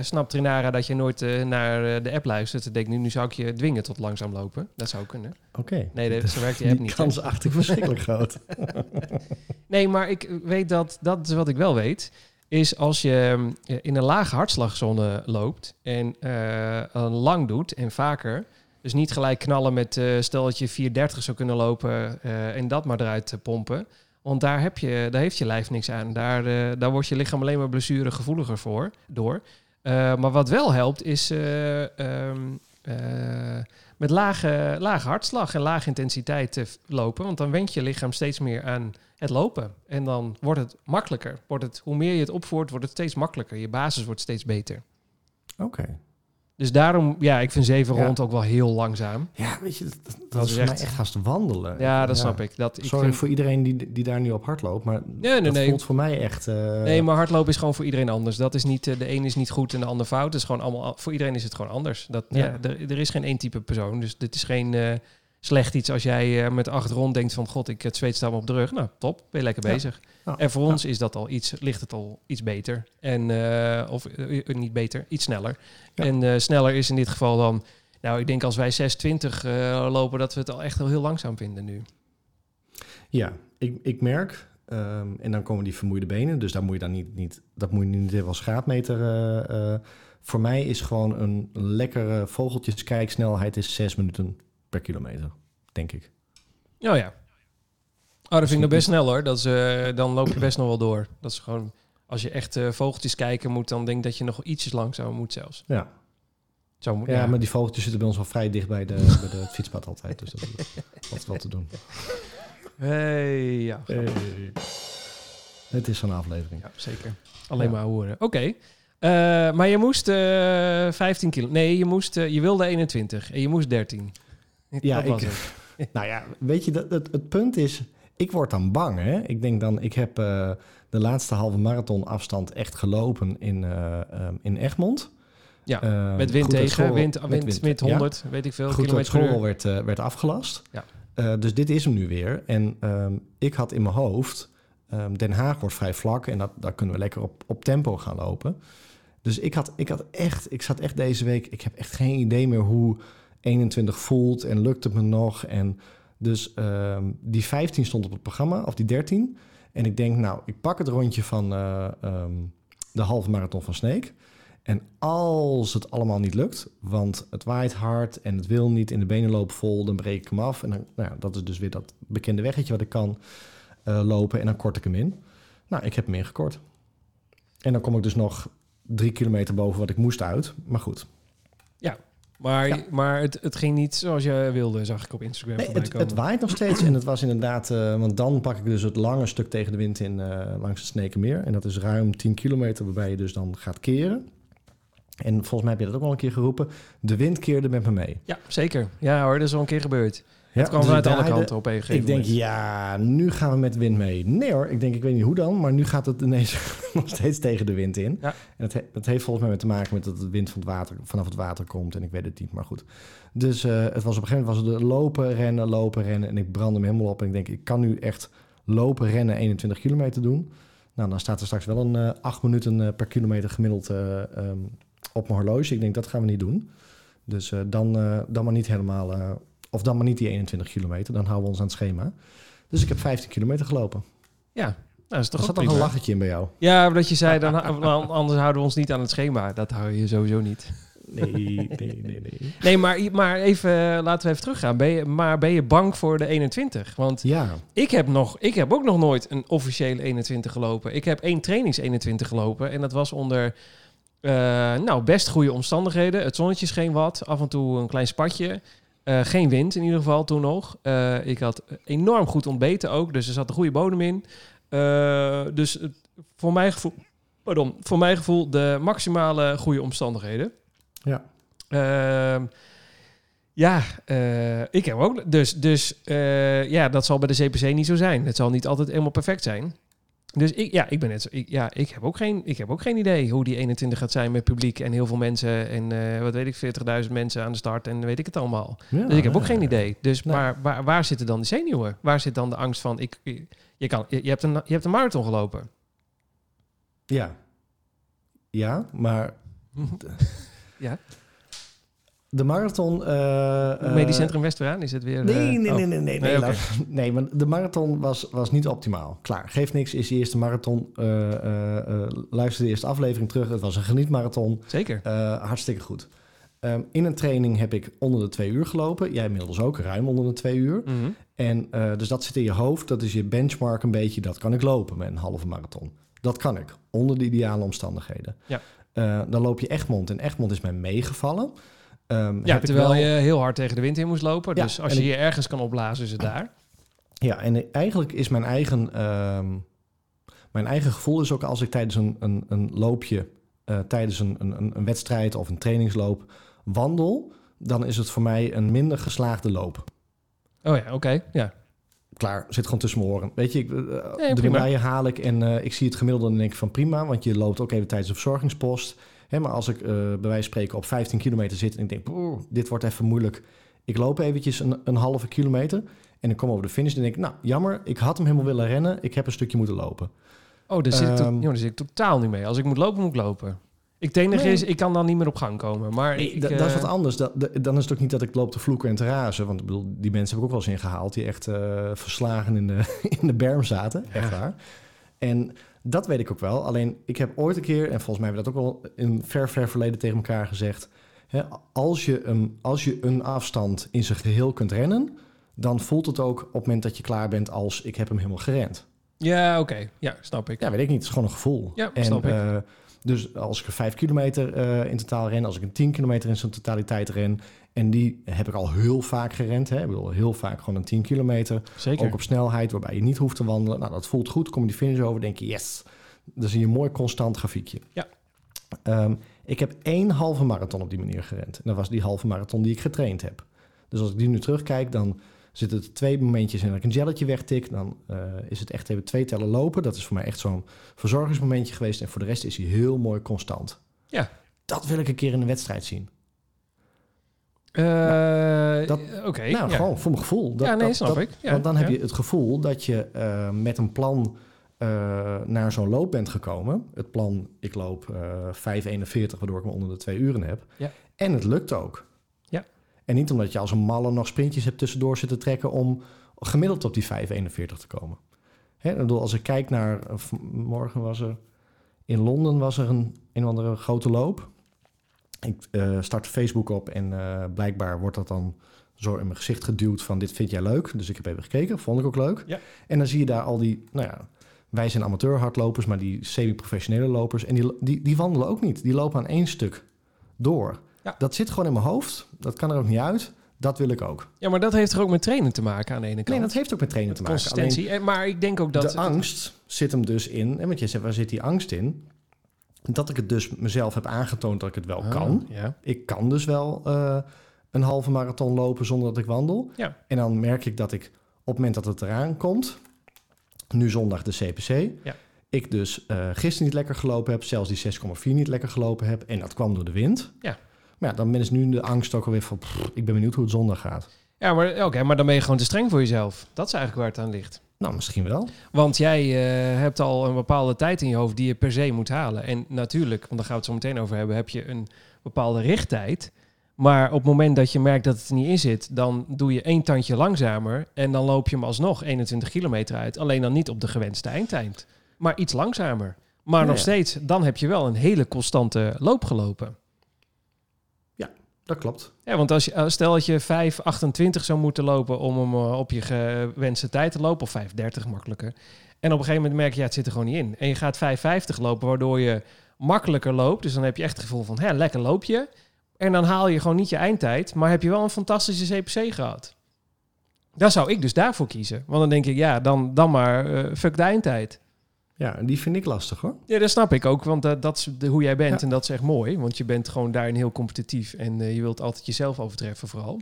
Speaker 1: snapt Trinara dat je nooit eh, naar eh, de app luistert. En denkt nu, nu zou ik je dwingen tot langzaam lopen. Dat zou kunnen.
Speaker 2: Oké.
Speaker 1: Nee, dat, zo werkt die app
Speaker 2: Die
Speaker 1: niet. hè?
Speaker 2: kans acht ik verschrikkelijk groot.
Speaker 1: Nee, maar ik weet dat, dat is wat ik wel weet. Is als je eh, in een lage hartslagzone loopt en eh, een lang doet en vaker. Dus niet gelijk knallen met eh, stel dat je 430 zou kunnen lopen eh, en dat maar eruit te pompen. Want daar, heb je, daar heeft je lijf niks aan. Daar, eh, daar wordt je lichaam alleen maar blessuregevoeliger voor, door. Eh, maar wat wel helpt is eh, ehm, eh, met lage, lage hartslag en lage intensiteit eh, lopen. Want dan went je lichaam steeds meer aan het lopen. En dan wordt het makkelijker. Wordt het, hoe meer je het opvoert, wordt het steeds makkelijker. Je basis wordt steeds beter.
Speaker 2: Oké.
Speaker 1: Dus daarom, ja, ik vind zeven
Speaker 2: Ja.
Speaker 1: rond ook wel heel langzaam.
Speaker 2: Ja, weet je, dat, dat, dat
Speaker 1: Dat
Speaker 2: is
Speaker 1: is
Speaker 2: voor mij
Speaker 1: echt-
Speaker 2: echt haast wandelen.
Speaker 1: Ja, dat snap ik. Dat, ik
Speaker 2: Sorry
Speaker 1: vind-
Speaker 2: voor iedereen die, die daar nu op hard loopt, maar
Speaker 1: nee,
Speaker 2: dat
Speaker 1: nee.
Speaker 2: voelt voor mij echt... eh,
Speaker 1: Nee, maar hardlopen is gewoon voor iedereen anders. Dat is niet, eh, de een is niet goed en de ander fout. Het is gewoon allemaal, voor iedereen is het gewoon anders. Dat, ja.
Speaker 2: Ja.
Speaker 1: er, er is geen één type persoon. Dus dit is geen eh, slecht iets als jij eh, met acht rond denkt van... God, ik het zweet staan op de rug. Nou, top. Ben je lekker
Speaker 2: Ja.
Speaker 1: bezig.
Speaker 2: Nou,
Speaker 1: En voor ons is dat al iets, ligt het al iets beter. En, eh, of eh, eh, niet beter, iets sneller.
Speaker 2: Ja.
Speaker 1: En eh, sneller is in dit geval dan... Nou, ik denk als wij 6.20 eh lopen, dat we het al echt wel heel langzaam vinden nu.
Speaker 2: Ja, ik, ik merk. ehm, en dan komen die vermoeide benen. Dus daar moet je dan niet, niet, dat moet je niet even als graadmeter. eh, eh. voor mij is gewoon een lekkere vogeltjeskijksnelheid is 6 minuten per kilometer, denk ik.
Speaker 1: Oh ja. Oh, dat vind ik nog best snel hoor. Dat is, eh, dan loop je best nog wel door. Dat is gewoon, als je echt eh, vogeltjes kijken moet, dan denk ik dat je nog ietsjes langzamer moet zelfs.
Speaker 2: Ja.
Speaker 1: Zo moet
Speaker 2: Ja,
Speaker 1: ja.
Speaker 2: maar die vogeltjes zitten bij ons wel vrij dicht bij, de, bij de, het fietspad altijd. Dus dat is altijd wel te doen.
Speaker 1: Hey, ja.
Speaker 2: Het is zo'n aflevering.
Speaker 1: ja, zeker. Alleen
Speaker 2: Ja.
Speaker 1: maar horen. Oké. Eh, maar je moest eh 15 kilo. Nee, je, moest, eh, je wilde 21 en je moest 13.
Speaker 2: Ja,
Speaker 1: dat was
Speaker 2: ik-
Speaker 1: het.
Speaker 2: Nou ja, weet je, dat, het, het punt is, ik word dan bang. Hè? Ik denk dan, ik heb eh, de laatste halve marathon afstand echt gelopen in, eh, ehm, in Egmond.
Speaker 1: Ja,
Speaker 2: Ehm,
Speaker 1: Met wind
Speaker 2: goed dat
Speaker 1: tegen,
Speaker 2: school-
Speaker 1: wind, wind, met
Speaker 2: ja.
Speaker 1: 100, weet ik veel.
Speaker 2: Goed dat
Speaker 1: kilometer per
Speaker 2: school
Speaker 1: uur.
Speaker 2: werd, eh, werd afgelast.
Speaker 1: Ja.
Speaker 2: Eh, dus dit is hem nu weer. En ehm, ik had in mijn hoofd, ehm, Den Haag wordt vrij vlak en dat, daar kunnen we lekker op, op tempo gaan lopen. Dus ik had, ik had echt, ik zat echt deze week, ik heb echt geen idee meer hoe 21 voelt en lukt het me nog. En dus ehm, die 15 stond op het programma, of die 13. En ik denk, nou, ik pak het rondje van eh, ehm, de halve marathon van Sneek. En als het allemaal niet lukt, want het waait hard en het wil niet, in de benen lopen vol, dan breek ik hem af. En dan, nou, ja, dat is dus weer dat bekende weggetje wat ik kan eh, lopen en dan kort ik hem in. Nou, ik heb hem ingekort. En dan kom ik dus nog drie kilometer boven wat ik moest uit. Maar goed,
Speaker 1: Maar,
Speaker 2: Ja.
Speaker 1: maar het, het ging niet zoals je wilde, zag ik op Instagram.
Speaker 2: nee,
Speaker 1: voorbij
Speaker 2: het,
Speaker 1: komen.
Speaker 2: het waait nog steeds en het was inderdaad, eh, want dan pak ik dus het lange stuk tegen de wind in eh, langs het Snekenmeer. En dat is ruim 10 kilometer waarbij je dus dan gaat keren. En volgens mij heb je dat ook al een keer geroepen. De wind keerde met me mee.
Speaker 1: Ja, zeker. Ja hoor, dat is al een keer gebeurd.
Speaker 2: Ja,
Speaker 1: Het kwam
Speaker 2: dus ik
Speaker 1: vanuit alle
Speaker 2: draaide-
Speaker 1: kanten op een gegeven
Speaker 2: Ik denk,
Speaker 1: moment.
Speaker 2: ja, nu gaan we met de wind mee. Nee hoor, ik denk, ik weet niet hoe dan, maar nu gaat het ineens nog steeds tegen de wind in.
Speaker 1: Ja.
Speaker 2: En dat, he- dat heeft volgens mij met te maken met dat de wind van het water, vanaf het water komt en ik weet het niet, maar goed. Dus eh, het was op een gegeven moment was het lopen, rennen, lopen, rennen en ik brandde hem helemaal op en ik denk, ik kan nu echt lopen, rennen, 21 kilometer doen. Nou, dan staat er straks wel een eh 8 minuten eh, per kilometer gemiddeld eh, ehm, op mijn horloge. Ik denk, dat gaan we niet doen. Dus eh, dan, eh, dan maar niet helemaal, eh, of dan maar niet die 21 kilometer. Dan houden we ons aan het schema. Dus ik heb 15 kilometer gelopen.
Speaker 1: Ja, nou, dat is
Speaker 2: Er
Speaker 1: toch ook
Speaker 2: zat nog
Speaker 1: prima.
Speaker 2: een lachetje in bij jou.
Speaker 1: Ja, omdat je zei, dan, dan- anders houden we ons niet aan het schema. Dat hou je sowieso niet.
Speaker 2: Nee, nee, nee, nee.
Speaker 1: Nee, maar, maar even, eh, laten we even teruggaan. Ben je, maar ben je bang voor de 21? Want
Speaker 2: Ja,
Speaker 1: ik heb, nog, ik heb ook nog nooit een officiële 21 gelopen. Ik heb één trainings 21 gelopen. En dat was onder eh, nou, best goede omstandigheden. Het zonnetje scheen wat. Af en toe een klein spatje. Eh, geen wind in ieder geval toen nog. Eh, ik had enorm goed ontbeten ook. Dus er zat een goede bodem in. Eh, dus het- voor mijn gevoel... Pardon, voor mijn gevoel de maximale goede omstandigheden.
Speaker 2: Ja.
Speaker 1: Ehm, ja, eh, ik heb ook. Dus, dus eh, ja, dat zal bij de CPC niet zo zijn. Het zal niet altijd helemaal perfect zijn. Dus ik, ja, ik ben net zo. Ik, ja, ik heb, ook geen, ik heb ook geen idee hoe die 21 gaat zijn met publiek en heel veel mensen. En eh, wat weet ik, 40.000 mensen aan de start en weet ik het allemaal.
Speaker 2: Ja,
Speaker 1: Dus ik heb ook
Speaker 2: ja.
Speaker 1: geen idee. Dus
Speaker 2: Nee.
Speaker 1: maar, waar, waar zitten dan de zenuwen? Waar zit dan de angst van? Ik, je, kan, je, hebt een, je hebt een marathon gelopen.
Speaker 2: Ja. Ja, maar
Speaker 1: Ja,
Speaker 2: de marathon... eh, eh,
Speaker 1: Medisch Centrum Westeraan is het weer.
Speaker 2: Nee,
Speaker 1: eh,
Speaker 2: nee,
Speaker 1: oh.
Speaker 2: nee, nee, nee.
Speaker 1: Nee,
Speaker 2: Nee,
Speaker 1: oké.
Speaker 2: laat- nee, maar de marathon was, was niet optimaal. Klaar, geeft niks, is de eerste marathon. Eh, eh, eh, luister de eerste aflevering terug. Het was een genietmarathon.
Speaker 1: Zeker.
Speaker 2: Eh, hartstikke goed. Ehm, in een training heb ik onder de twee uur gelopen. Jij inmiddels ook, ruim onder de twee uur.
Speaker 1: Mhm.
Speaker 2: En eh, dus dat zit in je hoofd. Dat is je benchmark een beetje. Dat kan ik lopen met een halve marathon. Dat kan ik, onder de ideale omstandigheden.
Speaker 1: Ja.
Speaker 2: Eh, dan loop je Egmond. En Egmond is mij meegevallen. Ehm,
Speaker 1: Ja,
Speaker 2: heb ik
Speaker 1: terwijl
Speaker 2: wel-
Speaker 1: je heel hard tegen de wind in moest lopen.
Speaker 2: Ja,
Speaker 1: dus als
Speaker 2: en
Speaker 1: je
Speaker 2: ik-
Speaker 1: je ergens kan opblazen, is het daar.
Speaker 2: Ja, en eigenlijk is mijn eigen, ehm, mijn eigen gevoel is ook als ik tijdens een, een, een loopje, eh, tijdens een, een, een- een wedstrijd of een trainingsloop wandel, dan is het voor mij een minder geslaagde loop.
Speaker 1: Oh ja, oké. Ja.
Speaker 2: Klaar, zit gewoon tussen mijn oren. Weet je, ik, eh, drie
Speaker 1: prima.
Speaker 2: rijen haal ik en eh, ik zie het gemiddelde en denk ik van prima, want je loopt ook even tijdens de verzorgingspost. Hè, maar als ik eh bij wijze van spreken op 15 kilometer zit en ik denk, "Poeh, dit wordt even moeilijk. Ik loop eventjes een, een halve kilometer en ik kom over de finish en denk ik, nou jammer, ik had hem helemaal willen rennen, ik heb een stukje moeten lopen.
Speaker 1: Oh, daar zit, ik to-
Speaker 2: Ehm.
Speaker 1: joh, daar zit ik totaal niet mee. Als ik moet lopen, moet ik lopen. Ik het enige
Speaker 2: Nee.
Speaker 1: is, ik kan dan niet meer op gang komen. Maar
Speaker 2: Nee,
Speaker 1: ik,
Speaker 2: da-
Speaker 1: eh,
Speaker 2: dat is wat anders. Da- da- dan is het ook niet dat ik loop te vloeken en te razen. Want ik bedoel, die mensen heb ik ook wel eens ingehaald... die echt eh, verslagen in de, in de berm zaten. Echt waar. En dat weet ik ook wel. Alleen, ik heb ooit een keer... en volgens mij hebben we dat ook wel in ver, ver verleden tegen elkaar gezegd... Hè, als, je een, als je een afstand in zijn geheel kunt rennen... dan voelt het ook op het moment dat je klaar bent als... ik heb hem helemaal gerend.
Speaker 1: Ja, oké. Ja, snap ik.
Speaker 2: Ja, weet ik niet. Het is gewoon een gevoel.
Speaker 1: Ja, snap ik.
Speaker 2: eh, dus als ik een 5 kilometer eh, in totaal ren, als ik een 10 kilometer in zijn totaliteit ren. En die heb ik al heel vaak gerend. Hè? Ik bedoel, heel vaak gewoon een 10 kilometer.
Speaker 1: Zeker.
Speaker 2: Ook op snelheid, waarbij je niet hoeft te wandelen. Nou, dat voelt goed. Kom je die finish over, denk je yes. Dan zie je een mooi constant grafiekje.
Speaker 1: Ja.
Speaker 2: Ehm, ik heb één halve marathon op die manier gerend. En dat was die halve marathon die ik getraind heb. Dus als ik die nu terugkijk, dan zitten er twee momentjes in dat ik een gelletje wegtik. Dan eh, is het echt even twee tellen lopen. Dat is voor mij echt zo'n verzorgingsmomentje geweest. En voor de rest is hij heel mooi constant.
Speaker 1: Ja.
Speaker 2: Dat wil ik een keer in een wedstrijd zien.
Speaker 1: Eh,
Speaker 2: dat-
Speaker 1: oké.
Speaker 2: nou,
Speaker 1: ja.
Speaker 2: gewoon voor mijn gevoel. Dat,
Speaker 1: ja, nee,
Speaker 2: dat-
Speaker 1: snap
Speaker 2: dat-
Speaker 1: ik. Ja,
Speaker 2: Want dan heb
Speaker 1: ja.
Speaker 2: je het gevoel dat je eh, met een plan eh, naar zo'n loop bent gekomen. Het plan, ik loop eh 5,41, waardoor ik me onder de twee uren heb.
Speaker 1: Ja.
Speaker 2: En het lukt ook.
Speaker 1: Ja.
Speaker 2: En niet omdat je als een malle nog sprintjes hebt tussendoor zitten trekken om gemiddeld op die 5,41 te komen. Hè, ik bedoel, als ik kijk naar, eh, v- morgen was er, in Londen was er een, een of andere grote loop. Ik eh, start Facebook op en eh, blijkbaar wordt dat dan zo in mijn gezicht geduwd van dit vind jij leuk. Dus ik heb even gekeken, vond ik ook leuk.
Speaker 1: Ja.
Speaker 2: En dan zie je daar al die, nou ja, wij zijn amateur hardlopers, maar die semi-professionele lopers. En die, die, die wandelen ook niet. Die lopen aan één stuk door.
Speaker 1: Ja.
Speaker 2: Dat zit gewoon in mijn hoofd. Dat kan er ook niet uit. Dat wil ik ook.
Speaker 1: ja, maar dat heeft er ook met trainen te maken aan de ene
Speaker 2: Nee,
Speaker 1: kant.
Speaker 2: dat heeft ook met trainen te maken. Alleen
Speaker 1: Consistentie. Eh, Maar ik denk ook dat...
Speaker 2: de angst zit hem dus in. En want je zegt, waar zit die angst in? Dat ik het dus mezelf heb aangetoond dat ik het wel
Speaker 1: Ah,
Speaker 2: kan.
Speaker 1: Ja.
Speaker 2: Ik kan dus wel eh, een halve marathon lopen zonder dat ik wandel.
Speaker 1: Ja.
Speaker 2: En dan merk ik dat ik op het moment dat het eraan komt, nu zondag de CPC,
Speaker 1: Ja.
Speaker 2: ik dus eh, gisteren niet lekker gelopen heb, zelfs die 6,4 niet lekker gelopen heb. En dat kwam door de wind.
Speaker 1: Ja.
Speaker 2: Maar ja, dan is nu de angst ook alweer van, pff, ik ben benieuwd hoe het zondag gaat.
Speaker 1: Ja, maar, oké, maar dan ben je gewoon te streng voor jezelf. Dat is eigenlijk waar het aan ligt.
Speaker 2: Nou, misschien wel.
Speaker 1: Want jij eh, hebt al een bepaalde tijd in je hoofd die je per se moet halen. En natuurlijk, want daar gaan we het zo meteen over hebben, heb je een bepaalde richttijd. Maar op het moment dat je merkt dat het er niet in zit, dan doe je één tandje langzamer en dan loop je hem alsnog 21 kilometer uit. Alleen dan niet op de gewenste eindtijd, maar iets langzamer. Maar
Speaker 2: Ja,
Speaker 1: nog
Speaker 2: ja.
Speaker 1: steeds, dan heb je wel een hele constante loop gelopen.
Speaker 2: dat klopt.
Speaker 1: Ja, want als je, eh, stel dat je 5,28 zou moeten lopen om hem eh, op je gewenste tijd te lopen, of 5,30 makkelijker. En op een gegeven moment merk je, ja, het zit er gewoon niet in. En je gaat 5,50 lopen, waardoor je makkelijker loopt. Dus dan heb je echt het gevoel van, hè, lekker loop je. En dan haal je gewoon niet je eindtijd, maar heb je wel een fantastische CPC gehad. Daar zou ik dus daarvoor kiezen. Want dan denk ik, ja, dan, dan maar eh, fuck de eindtijd.
Speaker 2: Ja, en die vind ik lastig hoor.
Speaker 1: Ja, dat snap ik ook, want dat- dat is de, hoe jij bent
Speaker 2: Ja.
Speaker 1: en dat is echt mooi. Want je bent gewoon daarin heel competitief en eh, je wilt altijd jezelf overtreffen vooral.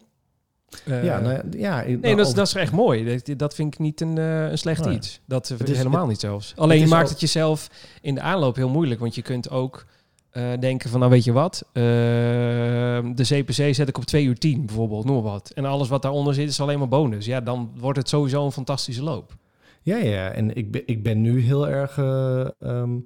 Speaker 1: Eh,
Speaker 2: ja, nou ja, ja,
Speaker 1: nee,
Speaker 2: nou,
Speaker 1: dat, is-
Speaker 2: over-
Speaker 1: dat is echt mooi. Dat, dat vind ik niet een, eh, een slecht
Speaker 2: Nee.
Speaker 1: iets. Dat eh,
Speaker 2: Het is-
Speaker 1: helemaal niet zelfs. Alleen
Speaker 2: het
Speaker 1: je
Speaker 2: is
Speaker 1: maakt
Speaker 2: al-
Speaker 1: het jezelf in de aanloop heel moeilijk, want je kunt ook eh, denken van, nou weet je wat, eh, de CPC zet ik op 2 uur 10 bijvoorbeeld, noem maar wat. En alles wat daaronder zit is alleen maar bonus. Ja, dan wordt het sowieso een fantastische loop.
Speaker 2: Ja, ja, en ik ben, ik ben nu heel erg... eh, ehm,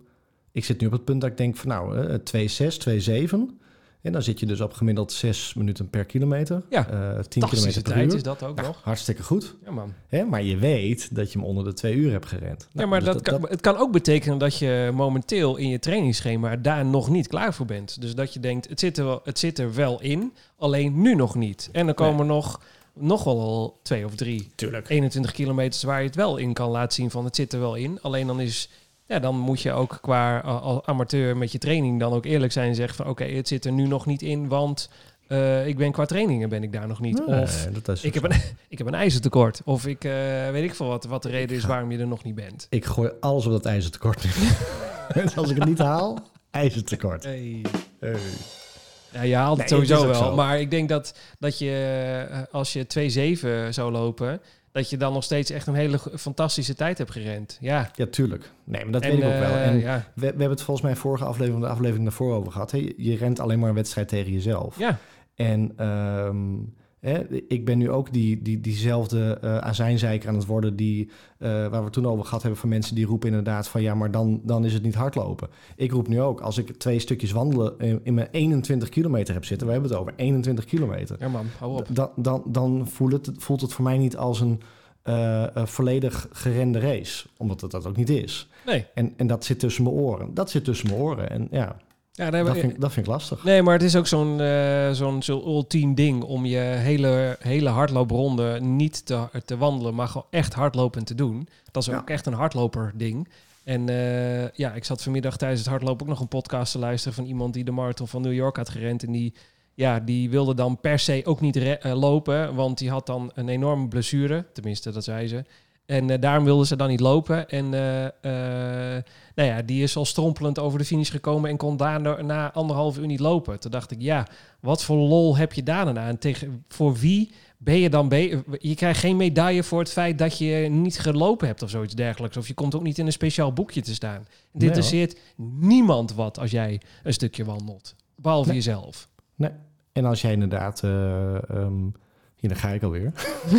Speaker 2: ik zit nu op het punt dat ik denk van nou, eh, 2,6, 2,7. En dan zit je dus op gemiddeld 6 minuten per kilometer.
Speaker 1: Ja,
Speaker 2: Eh, 10
Speaker 1: Fantastische
Speaker 2: kilometer per
Speaker 1: tijd is
Speaker 2: uur.
Speaker 1: dat ook nog.
Speaker 2: Hartstikke goed.
Speaker 1: Ja man.
Speaker 2: Hè? Maar je weet dat je hem onder de 2 uur hebt gerend. Nou,
Speaker 1: ja, maar
Speaker 2: dus
Speaker 1: dat, kan, het kan ook betekenen dat je momenteel in je trainingsschema daar nog niet klaar voor bent. Dus dat je denkt, het zit er wel, het zit er wel in, alleen nu nog niet. En dan komen er nog, nog wel twee of drie,
Speaker 2: Tuurlijk.
Speaker 1: 21 kilometers waar je het wel in kan laten zien van het zit er wel in. Alleen dan is, ja, dan moet je ook qua eh, als amateur met je training dan ook eerlijk zijn en zeggen van oké, het zit er nu nog niet in, want eh, ik ben qua trainingen ben ik daar nog niet.
Speaker 2: Nee,
Speaker 1: of
Speaker 2: dat is dus
Speaker 1: ik heb, een, ik heb een ijzertekort. Of ik eh, weet ik veel wat, wat de reden is waarom je er nog niet bent.
Speaker 2: Ik gooi alles op dat ijzertekort. en als ik het niet haal, ijzertekort.
Speaker 1: Eh. Ja, je haalt het
Speaker 2: Nee, het
Speaker 1: sowieso
Speaker 2: is ook
Speaker 1: wel.
Speaker 2: zo.
Speaker 1: Maar ik denk dat, dat je eh, als je 2-7 zou lopen, dat je dan nog steeds echt een hele go- fantastische tijd hebt gerend. Ja,
Speaker 2: Ja, tuurlijk. Nee, maar dat
Speaker 1: En,
Speaker 2: weet ik ook wel.
Speaker 1: eh,
Speaker 2: En
Speaker 1: ja.
Speaker 2: we, we hebben het volgens mij vorige aflevering, de aflevering daarvoor over gehad. hè. Je, je rent alleen maar een wedstrijd tegen jezelf.
Speaker 1: ja,
Speaker 2: En ehm, hè, ik ben nu ook die, die, diezelfde eh azijnzeiker aan het worden... Die, eh, waar we het toen over gehad hebben van mensen die roepen inderdaad van... ja, maar dan, dan is het niet hardlopen. Ik roep nu ook, als ik twee stukjes wandelen eh, in, in mijn 21 kilometer heb zitten... we hebben het over 21 kilometer...
Speaker 1: ja man, hou op.
Speaker 2: Dan, dan, dan voelt, het, voelt het voor mij niet als een eh, eh, volledig gerende race. Omdat het dat ook niet is.
Speaker 1: Nee,
Speaker 2: En, en dat zit tussen mijn oren. Dat zit tussen mijn oren. En ja,
Speaker 1: ja, daar
Speaker 2: dat
Speaker 1: hebben
Speaker 2: vind, ik- dat vind ik lastig.
Speaker 1: Nee, maar het is ook zo'n eh zo'n zo'n ultiem ding om je hele, hele hardloopronde niet te, te wandelen, maar gewoon echt hardlopen te doen. Dat is
Speaker 2: Ja.
Speaker 1: ook echt een hardloper ding. En eh, ja, ik zat vanmiddag tijdens het hardlopen ook nog een podcast te luisteren van iemand die de marathon van New York had gerend. En die, ja, die wilde dan per se ook niet re- eh, lopen, want die had dan een enorme blessure. Tenminste, dat zei ze. En eh, daarom wilde ze dan niet lopen. En eh, eh, nou ja, die is al strompelend over de finish gekomen en kon daarna na anderhalf uur niet lopen. Toen dacht ik, ja, wat voor lol heb je daar dan aan? Tegen, voor wie ben je dan be Je krijgt geen medaille voor het feit dat je niet gelopen hebt of zoiets dergelijks. Of je komt ook niet in een speciaal boekje te staan. Dit
Speaker 2: hoor.
Speaker 1: interesseert niemand wat als jij een stukje wandelt. Behalve
Speaker 2: Nee.
Speaker 1: jezelf.
Speaker 2: En als jij inderdaad... eh, ehm, hier, dan ga ik alweer.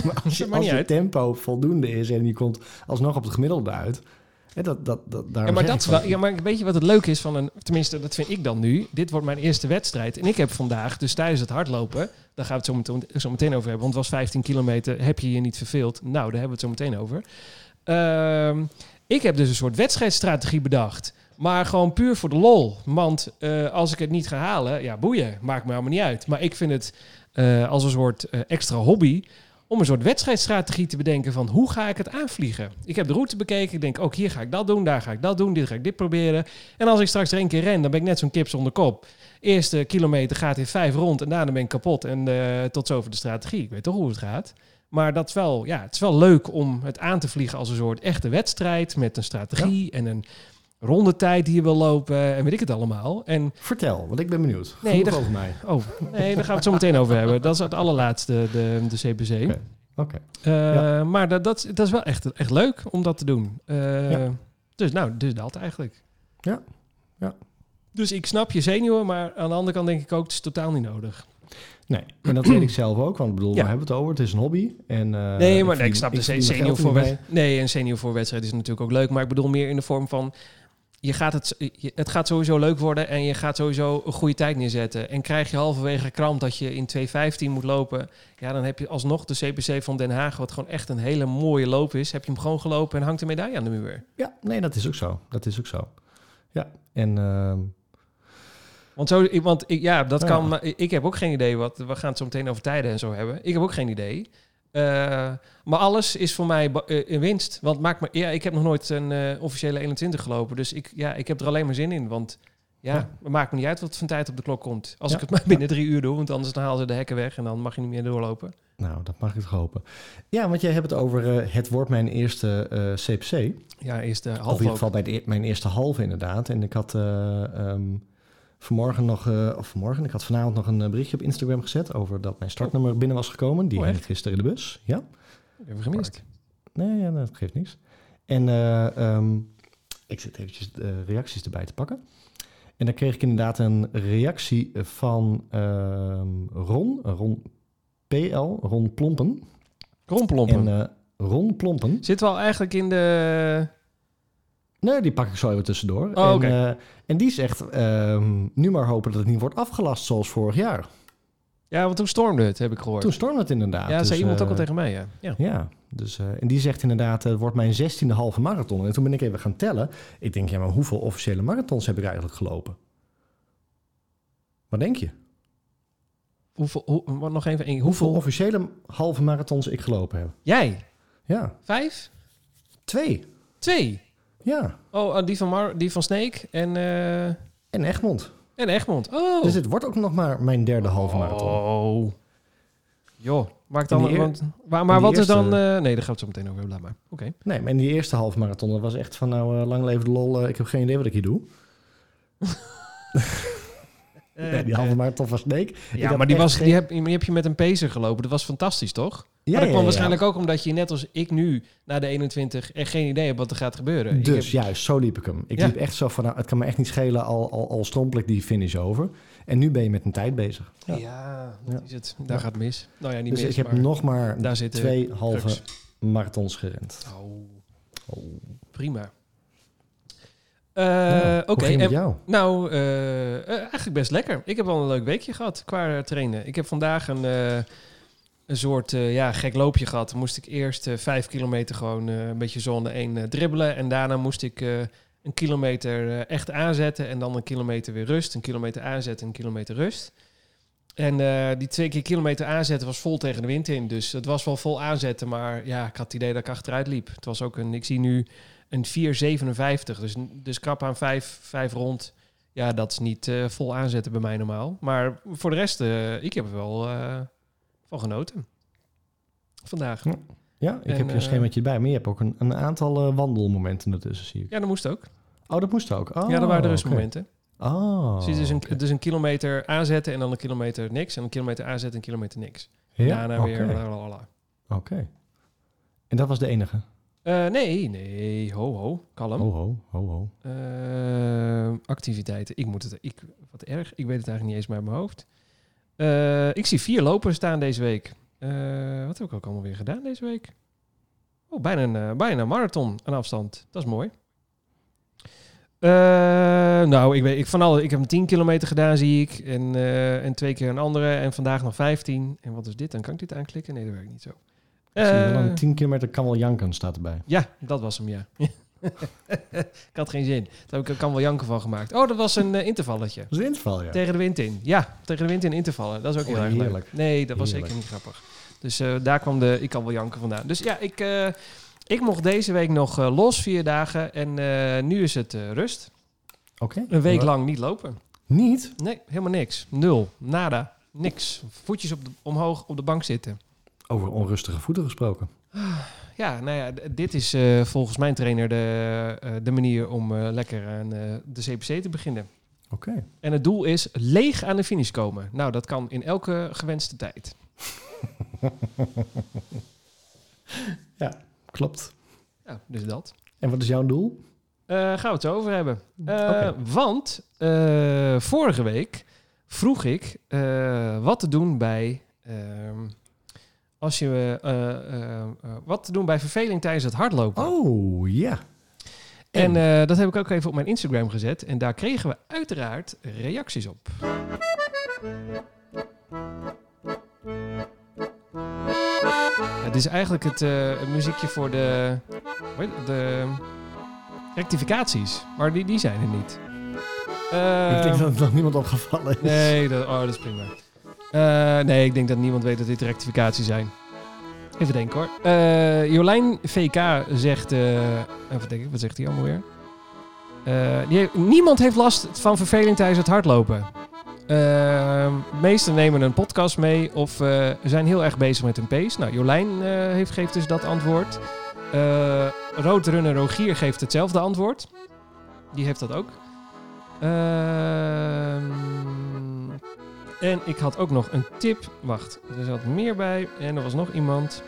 Speaker 2: maar als je,
Speaker 1: maakt
Speaker 2: als
Speaker 1: niet
Speaker 2: je
Speaker 1: uit.
Speaker 2: tempo voldoende is en je komt alsnog op het gemiddelde uit... Hè, dat, dat, dat, daarom
Speaker 1: Ja, maar
Speaker 2: zeg
Speaker 1: dat is
Speaker 2: ik van-
Speaker 1: wel, ja, maar weet je wat het leuke is van een, tenminste dat vind ik dan nu. Dit wordt mijn eerste wedstrijd en ik heb vandaag, dus tijdens het hardlopen, daar gaan we het zo meteen, zo meteen over hebben, want het was 15 kilometer, heb je je niet verveeld? Nou, daar hebben we het zo meteen over. Ehm, ik heb dus een soort wedstrijdstrategie bedacht, maar gewoon puur voor de lol. Want eh, als ik het niet ga halen, ja boeien, maakt me allemaal niet uit. Maar ik vind het eh, als een soort eh, extra hobby om een soort wedstrijdstrategie te bedenken van hoe ga ik het aanvliegen. Ik heb de route bekeken, ik denk ook hier ga ik dat doen, daar ga ik dat doen, dit ga ik dit proberen. En als ik straks er één keer ren, dan ben ik net zo'n kip zonder kop. Eerste kilometer gaat in vijf rond en daarna ben ik kapot en eh, tot zover de strategie. Ik weet toch hoe het gaat. Maar dat is wel, ja, het is wel leuk om het aan te vliegen als een soort echte wedstrijd met een strategie en een rondetijd die je wil lopen en weet ik het allemaal. En
Speaker 2: Vertel, want ik ben benieuwd.
Speaker 1: Nee,
Speaker 2: Nee, Genoeg
Speaker 1: dat-
Speaker 2: over mij.
Speaker 1: oh, nee, daar gaan we het zo meteen over hebben. Dat is het allerlaatste, de, de CPC.
Speaker 2: Oké. Oké.
Speaker 1: Eh,
Speaker 2: Ja.
Speaker 1: Maar dat, dat, is- dat is wel echt, echt leuk om dat te doen. Eh,
Speaker 2: Ja.
Speaker 1: Dus nou, dus dat eigenlijk.
Speaker 2: Ja. Ja.
Speaker 1: Dus ik snap je zenuwen, maar aan de andere kant denk ik ook, het is totaal niet nodig.
Speaker 2: Nee, en dat weet ik zelf ook, want ik bedoel,
Speaker 1: Ja.
Speaker 2: we hebben het over, het is een hobby. En, eh,
Speaker 1: nee, maar ik,
Speaker 2: verdien-
Speaker 1: snap de
Speaker 2: verdien mijn
Speaker 1: zenuw
Speaker 2: geld
Speaker 1: voor
Speaker 2: niet
Speaker 1: wedstrijd. Nee, een zenuw voor wedstrijd is natuurlijk ook leuk, maar ik bedoel meer in de vorm van, je gaat het, je- het gaat sowieso leuk worden en je gaat sowieso een goede tijd neerzetten. En krijg je halverwege kramp dat je in 2.15 moet lopen, ja, dan heb je alsnog de CPC van Den Haag, wat gewoon echt een hele mooie loop is, heb je hem gewoon gelopen en hangt een medaille aan de muur.
Speaker 2: mee. Ja, nee, dat is ook zo. Dat is ook zo. Ja, en ehm,
Speaker 1: Want, zo, ik- want ik, ja, dat
Speaker 2: Ja.
Speaker 1: kan. maar Ik heb ook geen idee wat. We gaan het zo meteen over tijden en zo hebben. Ik heb ook geen idee. Eh, maar alles is voor mij ba- eh, een winst. Want maakt me, ja, ik heb nog nooit een eh, officiële 21 gelopen. Dus ik, ja, ik heb er alleen maar zin in. Want ja,
Speaker 2: Ja.
Speaker 1: het maakt me niet uit wat van tijd op de klok komt. Als
Speaker 2: Ja.
Speaker 1: ik het maar binnen drie uur doe. Want anders dan halen ze de hekken weg en dan mag je niet meer doorlopen.
Speaker 2: Nou, dat mag ik toch hopen. Ja, want jij hebt het over eh, het wordt mijn eerste eh, CPC.
Speaker 1: Ja, eerst de
Speaker 2: Of in ieder
Speaker 1: half.
Speaker 2: geval bij de e- mijn eerste halve inderdaad. En ik had eh, ehm, vanmorgen nog, eh, of vanmorgen, ik had vanavond nog een eh, berichtje op Instagram gezet over dat mijn startnummer binnen was gekomen. Die
Speaker 1: Oh,
Speaker 2: hing
Speaker 1: echt?
Speaker 2: gisteren in de bus. Ja,
Speaker 1: Even gemist.
Speaker 2: nee, ja, dat geeft niks. En eh, ehm, ik zit eventjes de reacties erbij te pakken. En dan kreeg ik inderdaad een reactie van ehm, Ron, Ron PL, Ron Plompen.
Speaker 1: Kromplompen.
Speaker 2: En eh, Ron Plompen.
Speaker 1: Zitten we al eigenlijk in de...
Speaker 2: Nee, die pak ik zo even tussendoor.
Speaker 1: Oh,
Speaker 2: en,
Speaker 1: oké.
Speaker 2: eh, en die zegt, ehm, nu maar hopen dat het niet wordt afgelast zoals vorig jaar.
Speaker 1: Ja, want toen stormde het, heb ik gehoord.
Speaker 2: Toen stormde het inderdaad.
Speaker 1: ja,
Speaker 2: dus,
Speaker 1: zei iemand
Speaker 2: eh,
Speaker 1: ook al tegen mij, ja. ja.
Speaker 2: Ja, dus, eh, en die zegt inderdaad, eh, het wordt mijn 16e halve marathon. En toen ben ik even gaan tellen. Ik denk, ja, maar hoeveel officiële marathons heb ik eigenlijk gelopen? Wat denk je?
Speaker 1: Hoeveel, hoe, wat nog even, één-
Speaker 2: Hoeveel
Speaker 1: hoeveel?
Speaker 2: officiële halve marathons ik gelopen heb?
Speaker 1: Jij?
Speaker 2: Ja,
Speaker 1: Vijf?
Speaker 2: twee.
Speaker 1: Twee?
Speaker 2: Ja,
Speaker 1: Oh, eh, die van, Mar die van Snake en, eh,
Speaker 2: en Egmond.
Speaker 1: en Egmond. Oh.
Speaker 2: Dus dit wordt ook nog maar mijn derde halve marathon.
Speaker 1: Oh. Joh, maakt
Speaker 2: En
Speaker 1: dan...
Speaker 2: die eer-
Speaker 1: want, maar maar
Speaker 2: en die
Speaker 1: wat is dan...
Speaker 2: eerste-
Speaker 1: eh, nee, daar gaat het zo meteen over, laat maar. Oké.
Speaker 2: Nee, maar in die eerste halve marathon dat was echt van, nou, eh, lang leven de lol. eh, ik heb geen idee wat ik hier doe. Nee, die halve marathon van Sneek. Ik
Speaker 1: ja,
Speaker 2: had
Speaker 1: maar die,
Speaker 2: echt
Speaker 1: was,
Speaker 2: geen-
Speaker 1: die, heb, die heb je met een pacer gelopen. Dat was fantastisch, toch?
Speaker 2: Ja,
Speaker 1: maar dat
Speaker 2: ja,
Speaker 1: kwam
Speaker 2: ja.
Speaker 1: waarschijnlijk ook omdat je net als ik nu... na de 21 echt geen idee hebt wat er gaat gebeuren.
Speaker 2: Dus
Speaker 1: Ik heb-
Speaker 2: juist, zo liep ik hem. Ik
Speaker 1: Ja.
Speaker 2: liep echt zo van, nou, het kan me echt niet schelen, al, al, al strompel ik die finish over. En nu ben je met een tijd bezig.
Speaker 1: ja,
Speaker 2: Ja.
Speaker 1: dat
Speaker 2: Ja.
Speaker 1: is het. Daar
Speaker 2: Ja.
Speaker 1: gaat het mis. Nou ja, niet
Speaker 2: Dus
Speaker 1: mis,
Speaker 2: ik heb
Speaker 1: maar
Speaker 2: nog maar
Speaker 1: daar zitten...
Speaker 2: twee halve
Speaker 1: drugs.
Speaker 2: marathons gerend.
Speaker 1: Oh.
Speaker 2: Oh.
Speaker 1: Prima. Eh,
Speaker 2: Nou,
Speaker 1: Oké,
Speaker 2: Hoe ging het
Speaker 1: en-
Speaker 2: met jou?
Speaker 1: nou, eh, eh, eigenlijk best lekker. Ik heb wel een leuk weekje gehad qua eh, trainen. Ik heb vandaag een, eh, een soort eh, ja, gek loopje gehad. Moest ik eerst eh, vijf kilometer gewoon eh, een beetje zone 1 dribbelen. En daarna moest ik eh, een kilometer eh, echt aanzetten. En dan een kilometer weer rust. Een kilometer aanzetten, een kilometer rust. En eh, die twee keer kilometer aanzetten was vol tegen de wind in. Dus het was wel vol aanzetten. Maar ja, ik had het idee dat ik achteruit liep. Het was ook een, ik zie nu een 4,57. Dus, dus krap aan 5, 5 rond. Ja, dat is niet eh, vol aanzetten bij mij normaal. Maar voor de rest, eh, ik heb er wel eh, van genoten. Vandaag.
Speaker 2: Ja, ik
Speaker 1: en,
Speaker 2: heb je
Speaker 1: eh,
Speaker 2: een schemaatje bij, maar je hebt ook een, een aantal eh, wandelmomenten ertussen, zie ik.
Speaker 1: Ja, dat moest ook.
Speaker 2: Oh, dat moest ook. Oh,
Speaker 1: ja, dat waren de
Speaker 2: oké.
Speaker 1: rustmomenten.
Speaker 2: Oh,
Speaker 1: Dus het is een,
Speaker 2: oké.
Speaker 1: dus een kilometer aanzetten en dan een kilometer niks. En een kilometer aanzetten en een kilometer niks.
Speaker 2: Ja,
Speaker 1: Daarna weer... eh,
Speaker 2: oké,
Speaker 1: lalalala.
Speaker 2: oké. En dat was de enige?
Speaker 1: Eh, nee, nee, ho, ho, kalm.
Speaker 2: Ho, ho, ho, ho.
Speaker 1: Ehm, activiteiten. Ik moet het. Ik, wat erg. Ik weet het eigenlijk niet eens meer uit mijn hoofd. Eh, ik zie vier lopers staan deze week. Eh, wat heb ik ook allemaal weer gedaan deze week? Oh, bijna een, eh, bijna een marathon aan afstand. Dat is mooi. Eh, nou, ik, weet, ik, van alle, ik heb een 10 kilometer gedaan, zie ik. En, eh, en twee keer een andere. En vandaag nog 15. En wat is dit? Dan kan ik dit aanklikken? Nee, dat werkt niet zo.
Speaker 2: Ik zie wel
Speaker 1: Eh,
Speaker 2: een 10 kilometer kan wel janken staat erbij.
Speaker 1: ja, dat was hem, ja. ik had geen zin. Daar heb ik kan wel janken van gemaakt. Oh, dat was een eh, intervalletje.
Speaker 2: Dat is een inval, ja.
Speaker 1: Tegen de wind in. Ja, tegen de wind in intervallen. Dat is ook
Speaker 2: Oh,
Speaker 1: heel erg leuk.
Speaker 2: heerlijk.
Speaker 1: Nee, dat was
Speaker 2: Heerlijk.
Speaker 1: zeker niet grappig. Dus eh, daar kwam de ik kan wel janken vandaan. Dus ja, ik, eh, ik mocht deze week nog eh, los, vier dagen. En eh, nu is het eh, rust.
Speaker 2: Oké.
Speaker 1: Een week lang niet lopen.
Speaker 2: Niet?
Speaker 1: Nee, helemaal niks. Nul. Nada. Niks. Voetjes op de, omhoog op de bank zitten.
Speaker 2: Over onrustige voeten gesproken.
Speaker 1: Ja, nou ja, d- dit is eh, volgens mijn trainer de, eh, de manier om eh, lekker aan eh, de CPC te beginnen.
Speaker 2: Oké.
Speaker 1: En het doel is leeg aan de finish komen. Nou, dat kan in elke gewenste tijd.
Speaker 2: Klopt.
Speaker 1: Ja, dus dat.
Speaker 2: En wat is jouw doel?
Speaker 1: Eh, gaan we het zo over hebben. Eh,
Speaker 2: Oké.
Speaker 1: Want eh, vorige week vroeg ik eh, wat te doen bij... ehm, als je, eh, eh, eh, wat te doen bij verveling tijdens het hardlopen.
Speaker 2: Oh, ja.
Speaker 1: En eh, dat heb ik ook even op mijn Instagram gezet. En daar kregen we uiteraard reacties op. Ja, dit is eigenlijk het, eh, het muziekje voor de, hoe heet het? de rectificaties. Maar die, die zijn er niet. Eh,
Speaker 2: ik denk dat het nog niemand opgevallen is.
Speaker 1: Nee, dat, oh, dat is prima. Eh, nee, ik denk dat niemand weet dat dit rectificaties zijn. Even denken hoor. Eh, Jolijn VK zegt... eh, even denken, wat zegt hij allemaal weer? Eh, die heeft- niemand heeft last van verveling tijdens het hardlopen. Ehm meesten nemen een podcast mee of eh, zijn heel erg bezig met hun pace. Nou, Jolijn eh, heeft, geeft dus dat antwoord. Eh Roodrunner Rogier geeft hetzelfde antwoord. Die heeft dat ook. Ehm, en ik had ook nog een tip. Wacht, er zat meer bij. En er was nog iemand.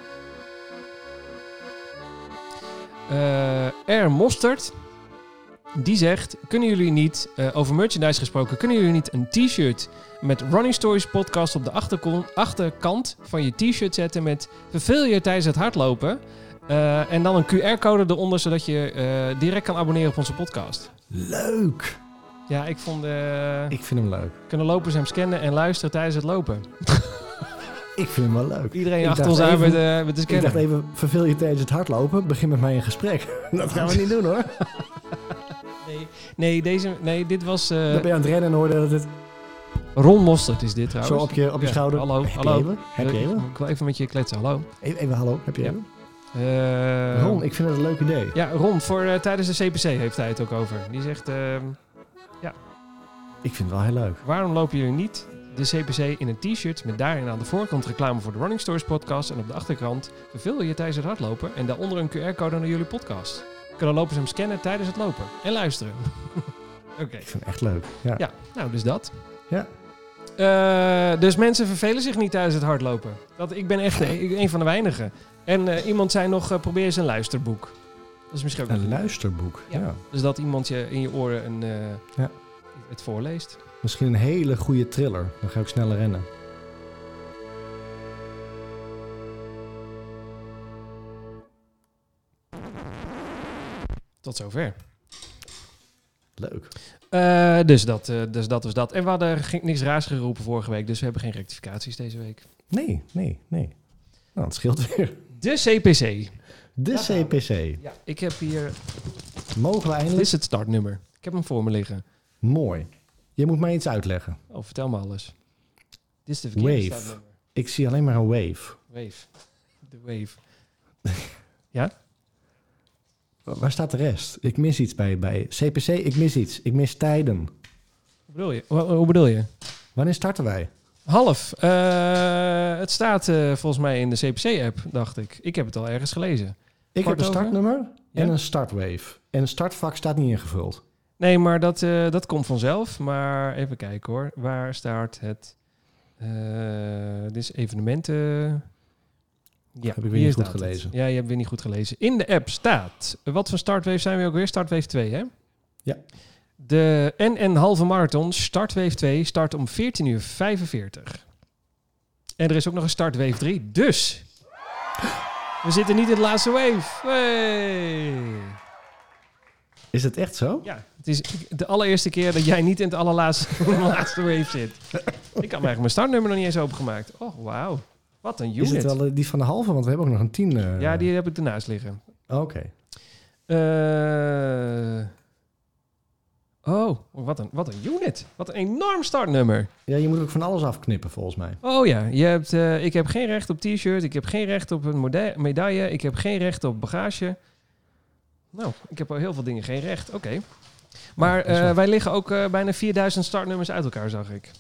Speaker 1: Eh R. Mostert. Die zegt, kunnen jullie niet, eh, over merchandise gesproken, kunnen jullie niet een t-shirt met Running Stories podcast op de achterkon- achterkant van je t-shirt zetten met verveel je tijdens het hardlopen? Eh, en dan een QR-code eronder, zodat je eh, direct kan abonneren op onze podcast.
Speaker 2: Leuk!
Speaker 1: Ja, ik vond. eh,
Speaker 2: Ik vind hem leuk.
Speaker 1: Kunnen lopers hem scannen en luisteren tijdens het lopen?
Speaker 2: Ik vind hem wel leuk.
Speaker 1: Iedereen
Speaker 2: Ik
Speaker 1: achter
Speaker 2: dacht
Speaker 1: ons aan
Speaker 2: even-
Speaker 1: met, eh, met de
Speaker 2: Ik dacht
Speaker 1: scanner.
Speaker 2: even, verveel je tijdens het hardlopen? Begin met mij een gesprek. Dat gaan we niet doen hoor.
Speaker 1: Nee, nee, deze, nee, dit was. eh,
Speaker 2: Dan ben je aan het rennen en hoorde dat het
Speaker 1: Ron Mostert is dit trouwens.
Speaker 2: zo op je, op je
Speaker 1: dus- Ja,
Speaker 2: schouder...
Speaker 1: hallo,
Speaker 2: heb
Speaker 1: hallo.
Speaker 2: Je even? Heb je even?
Speaker 1: Ik wil even met je kletsen, hallo.
Speaker 2: Even, even hallo, heb je
Speaker 1: Ja.
Speaker 2: even?
Speaker 1: Eh,
Speaker 2: Ron, ik vind het een leuk idee.
Speaker 1: Ja, Ron, voor, eh, tijdens de CPC heeft hij het ook over. Die zegt: eh,
Speaker 2: Ik vind het wel heel leuk.
Speaker 1: Waarom lopen jullie niet de CPC in een t-shirt met daarin aan de voorkant reclame voor de Running Stories podcast en op de achterkant verveel je tijdens het hardlopen en daaronder een QR-code naar jullie podcast? Kunnen lopers hem scannen tijdens het lopen en luisteren? Oké.
Speaker 2: Ik vind het echt leuk. Ja.
Speaker 1: Ja, nou, dus dat.
Speaker 2: Ja.
Speaker 1: Eh, dus mensen vervelen zich niet tijdens het hardlopen. Dat, ik ben echt een, een van de weinigen. En eh, iemand zei nog, eh, probeer eens een luisterboek. Dat is misschien ook...
Speaker 2: Een luisterboek.
Speaker 1: Ja.
Speaker 2: Ja.
Speaker 1: Dus dat iemand je in je oren een, eh,
Speaker 2: Ja.
Speaker 1: het voorleest.
Speaker 2: Misschien een hele goede thriller. Dan ga ik sneller rennen.
Speaker 1: Tot zover.
Speaker 2: Leuk.
Speaker 1: Eh, dus, dat, eh, dus dat was dat. En we hadden geen- niks raars geroepen vorige week, dus we hebben geen rectificaties deze week.
Speaker 2: Nee, nee, nee. Nou, het scheelt weer.
Speaker 1: De CPC.
Speaker 2: De
Speaker 1: Daar gaan
Speaker 2: CPC.
Speaker 1: Ja. Ik heb hier...
Speaker 2: Mogen we
Speaker 1: Dit
Speaker 2: eindelijk?
Speaker 1: is het startnummer. Ik heb hem voor me liggen.
Speaker 2: Mooi. Je moet mij iets uitleggen.
Speaker 1: Oh, vertel me alles. Dit is de verkeerde
Speaker 2: Wave.
Speaker 1: startnummer.
Speaker 2: Ik zie alleen maar een wave.
Speaker 1: Wave. De wave.
Speaker 2: Wa- Waar staat de rest? Ik mis iets bij, bij CPC. Ik mis iets. Ik mis tijden.
Speaker 1: Hoe bedoel je? Hoe, hoe bedoel je?
Speaker 2: Wanneer starten wij?
Speaker 1: Half. Eh, het staat eh, volgens mij in de CPC-app, dacht ik. Ik heb het al ergens gelezen.
Speaker 2: Ik
Speaker 1: Kort
Speaker 2: heb een
Speaker 1: over?
Speaker 2: startnummer en
Speaker 1: Ja?
Speaker 2: een startwave. En een startvak staat niet ingevuld.
Speaker 1: Nee, maar dat, eh, dat komt vanzelf. Maar even kijken hoor. Waar staat het? Eh, dit is evenementen. Ja,
Speaker 2: Heb ik weer
Speaker 1: hier
Speaker 2: niet goed
Speaker 1: staat het.
Speaker 2: gelezen.
Speaker 1: Ja, je hebt weer niet goed gelezen. In de app staat... Wat voor startwave zijn we ook weer? Startwave 2, hè?
Speaker 2: Ja.
Speaker 1: De NN Halve Marathon Startwave 2 start om 14 uur 45. En er is ook nog een Startwave 3. Dus... We zitten niet in de laatste wave. Hey.
Speaker 2: Is het echt zo?
Speaker 1: Ja, het is de allereerste keer dat jij niet in het allerlaatste laatste wave zit. Ik had eigenlijk mijn startnummer nog niet eens opengemaakt. Oh, wauw. Wat een
Speaker 2: Is het
Speaker 1: unit.
Speaker 2: wel eh, die van de halve? Want we hebben ook nog een tien. eh. Oh,
Speaker 1: Ja, die heb ik ernaast liggen.
Speaker 2: Oké.
Speaker 1: Eh, oh, wat een, wat een unit. Wat een enorm startnummer.
Speaker 2: Ja, je moet ook van alles afknippen volgens mij.
Speaker 1: Oh ja, je hebt, eh, ik heb geen recht op t-shirt. Ik heb geen recht op een mode- medaille. Ik heb geen recht op bagage. Nou, ik heb al heel veel dingen geen recht. Oké. Maar
Speaker 2: dat is wel-
Speaker 1: eh, wij liggen ook eh, bijna 4000 startnummers uit elkaar, zag ik.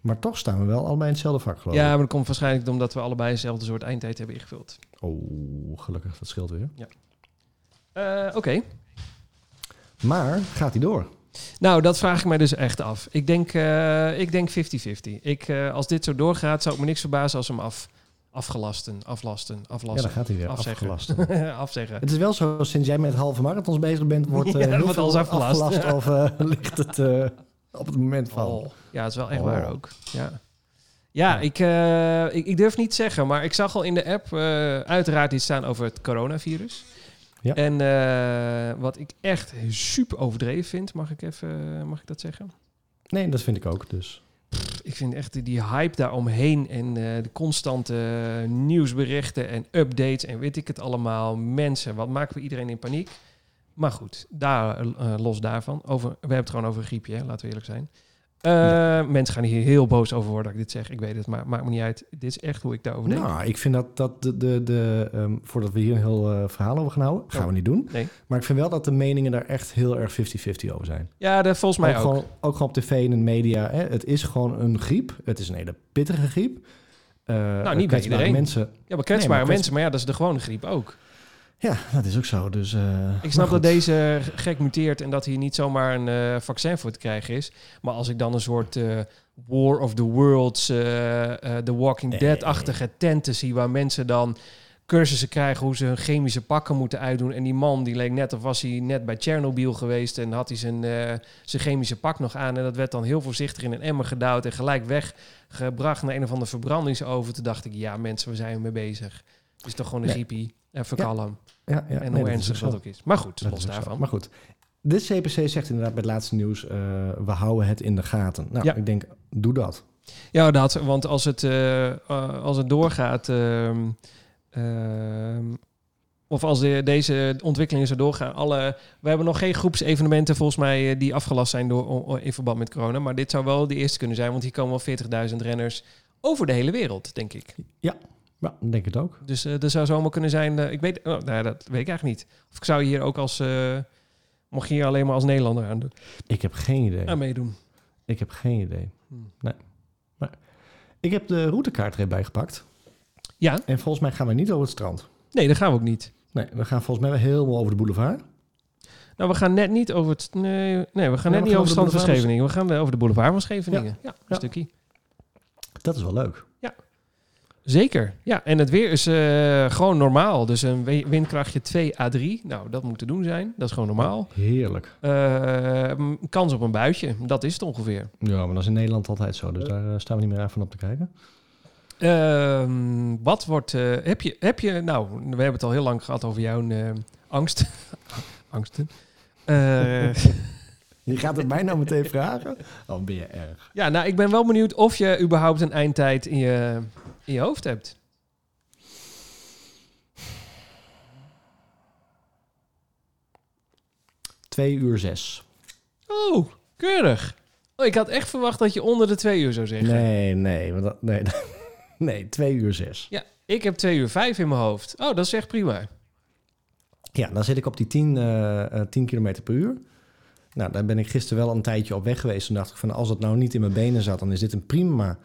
Speaker 2: Maar toch staan we wel allebei in hetzelfde vak, geloof
Speaker 1: Ja,
Speaker 2: ik.
Speaker 1: maar dat komt waarschijnlijk omdat we allebei hetzelfde soort eindtijd hebben ingevuld.
Speaker 2: Oh, gelukkig, dat scheelt weer.
Speaker 1: Eh, Oké,
Speaker 2: Maar gaat hij door?
Speaker 1: nou dat vraag ik mij dus echt af. Ik denk, eh, ik denk 50-50. Ik, eh, als dit zo doorgaat, zou het me niks verbazen als we hem af, afgelasten, aflasten,
Speaker 2: Ja, dan
Speaker 1: aflasten,
Speaker 2: gaat hij weer.
Speaker 1: Afzeggen.
Speaker 2: Afgelast.
Speaker 1: afzeggen.
Speaker 2: Het is wel zo, sinds jij met halve marathons bezig bent, wordt eh
Speaker 1: Ja,
Speaker 2: heel
Speaker 1: wordt
Speaker 2: veel
Speaker 1: alles afgelast.
Speaker 2: of eh, ligt het eh, op het moment van.
Speaker 1: Oh. Ja, dat is wel echt
Speaker 2: Oh.
Speaker 1: waar ook. Ja, ja ik, eh, ik, ik durf niet te zeggen, maar ik zag al in de app eh, uiteraard iets staan over het coronavirus.
Speaker 2: Ja.
Speaker 1: En eh, wat ik echt super overdreven vind, mag ik, even, mag ik dat zeggen?
Speaker 2: Nee, dat vind ik ook. Dus
Speaker 1: Ik vind echt die- die hype daaromheen en eh, de constante eh, nieuwsberichten en updates en weet ik het allemaal. Mensen, wat maken we iedereen in paniek? Maar goed, daar, eh, los daarvan. Over, we hebben het gewoon over een griepje, hè, laten we eerlijk zijn. Eh, Mensen gaan hier heel boos over worden dat ik dit zeg. Ik weet het, maar maakt me niet uit. Dit is echt hoe ik daarover denk.
Speaker 2: Nou, ik vind dat, dat de, de, de, ehm, voordat we hier een heel eh, verhaal over gaan houden, gaan
Speaker 1: Oh.
Speaker 2: we niet doen.
Speaker 1: Nee.
Speaker 2: Maar ik vind wel dat de meningen daar echt heel erg 50-50 over zijn.
Speaker 1: Ja, dat volgens mij ook.
Speaker 2: Gewoon, ook gewoon op tv en in de media. Hè? Het is gewoon een griep. Het is een hele pittige griep. Eh, kwetsbare
Speaker 1: Nou, niet bij iedereen.
Speaker 2: Mensen.
Speaker 1: Ja, maar kwetsbare
Speaker 2: Nee, maar kwets-
Speaker 1: mensen, maar ja, dat is de gewone griep ook.
Speaker 2: Ja, dat is ook zo. Dus,
Speaker 1: Ik snap dat deze gek muteert en dat hier niet zomaar een eh, vaccin voor te krijgen is. Maar als ik dan een soort eh, War of the Worlds, eh, eh, The Walking
Speaker 2: Nee.
Speaker 1: Dead-achtige tenten zie... waar mensen dan cursussen krijgen hoe ze hun chemische pakken moeten uitdoen. En die man, die leek net of was hij net bij Tsjernobyl geweest... en had hij zijn, eh, zijn chemische pak nog aan. En dat werd dan heel voorzichtig in een emmer gedouwd... en gelijk weggebracht naar een of andere verbrandingsoven. Toen dacht ik, ja mensen, we zijn mee bezig. Het is toch gewoon een
Speaker 2: Nee.
Speaker 1: griepie. Even kalm.
Speaker 2: Ja, ja,
Speaker 1: en
Speaker 2: nee,
Speaker 1: hoe
Speaker 2: is
Speaker 1: ernstig
Speaker 2: ook
Speaker 1: dat
Speaker 2: zo.
Speaker 1: ook is. Maar goed,
Speaker 2: Dat
Speaker 1: los
Speaker 2: is dus ook zo.
Speaker 1: daarvan.
Speaker 2: Maar goed. De CPC zegt inderdaad bij het laatste nieuws... eh, we houden het in de gaten. Nou,
Speaker 1: Ja.
Speaker 2: ik denk, doe dat.
Speaker 1: Ja, dat. Want als het, eh, eh, als het doorgaat. ehm, ehm, of als de- deze ontwikkelingen zo doorgaan. Alle, we hebben nog geen groepsevenementen volgens mij eh, die afgelast zijn door, o- o- in verband met corona. Maar dit zou wel de eerste kunnen zijn. Want hier komen wel 40.000 renners over de hele wereld, denk ik.
Speaker 2: Ja, ik denk het ook.
Speaker 1: Dus eh er zou zomaar kunnen zijn. eh, ik weet, oh, nou, ja, dat weet ik eigenlijk niet. Of ik zou hier ook als. eh, mocht je hier alleen maar als Nederlander aan, doen-
Speaker 2: Ik heb geen idee.
Speaker 1: aan meedoen.
Speaker 2: Ik heb geen idee.
Speaker 1: Hmm.
Speaker 2: Nee. Maar ik heb de routekaart er even bij gepakt.
Speaker 1: Ja,
Speaker 2: En volgens mij gaan we niet over het strand.
Speaker 1: nee, dat gaan we ook niet.
Speaker 2: Nee, we gaan volgens mij wel helemaal over de boulevard.
Speaker 1: Nou, we gaan net niet over het. Nee, nee we gaan net
Speaker 2: we
Speaker 1: niet
Speaker 2: gaan
Speaker 1: over
Speaker 2: over
Speaker 1: stand
Speaker 2: de
Speaker 1: van
Speaker 2: boulevard.
Speaker 1: Scheveningen. We gaan eh, over de boulevard van Scheveningen. Ja, een
Speaker 2: Ja.
Speaker 1: stukje.
Speaker 2: Dat is wel leuk.
Speaker 1: Zeker. Ja, en het weer is eh, gewoon normaal. Dus een we- windkrachtje 2 à 3. Nou, dat moet te doen zijn. Dat is gewoon normaal.
Speaker 2: Heerlijk.
Speaker 1: Eh, m, kans op een buitje. Dat is het ongeveer.
Speaker 2: Ja, maar dat is in Nederland altijd zo. Dus daar eh, staan we niet meer aan van op te kijken.
Speaker 1: Ehm, wat wordt. eh, heb, je, heb je. Nou, we hebben het al heel lang gehad over jouw eh, angst. angsten. Eh,
Speaker 2: Je gaat het mij nou meteen vragen? Oh, ben je erg.
Speaker 1: ja, nou, ik ben wel benieuwd of je überhaupt een eindtijd in je, in je hoofd hebt.
Speaker 2: Twee uur zes.
Speaker 1: Oh, keurig. Oh, ik had echt verwacht dat je onder de twee uur zou zeggen.
Speaker 2: Nee, nee. want dat- nee, nee, twee uur zes.
Speaker 1: Ja, ik heb twee uur vijf in mijn hoofd. Oh, dat is echt prima.
Speaker 2: Ja, dan zit ik op die 10, eh eh, 10 km per uur. Nou, daar ben ik gisteren wel een tijdje op weg geweest. Toen dacht ik van, als dat nou niet in mijn benen zat, dan is dit een prima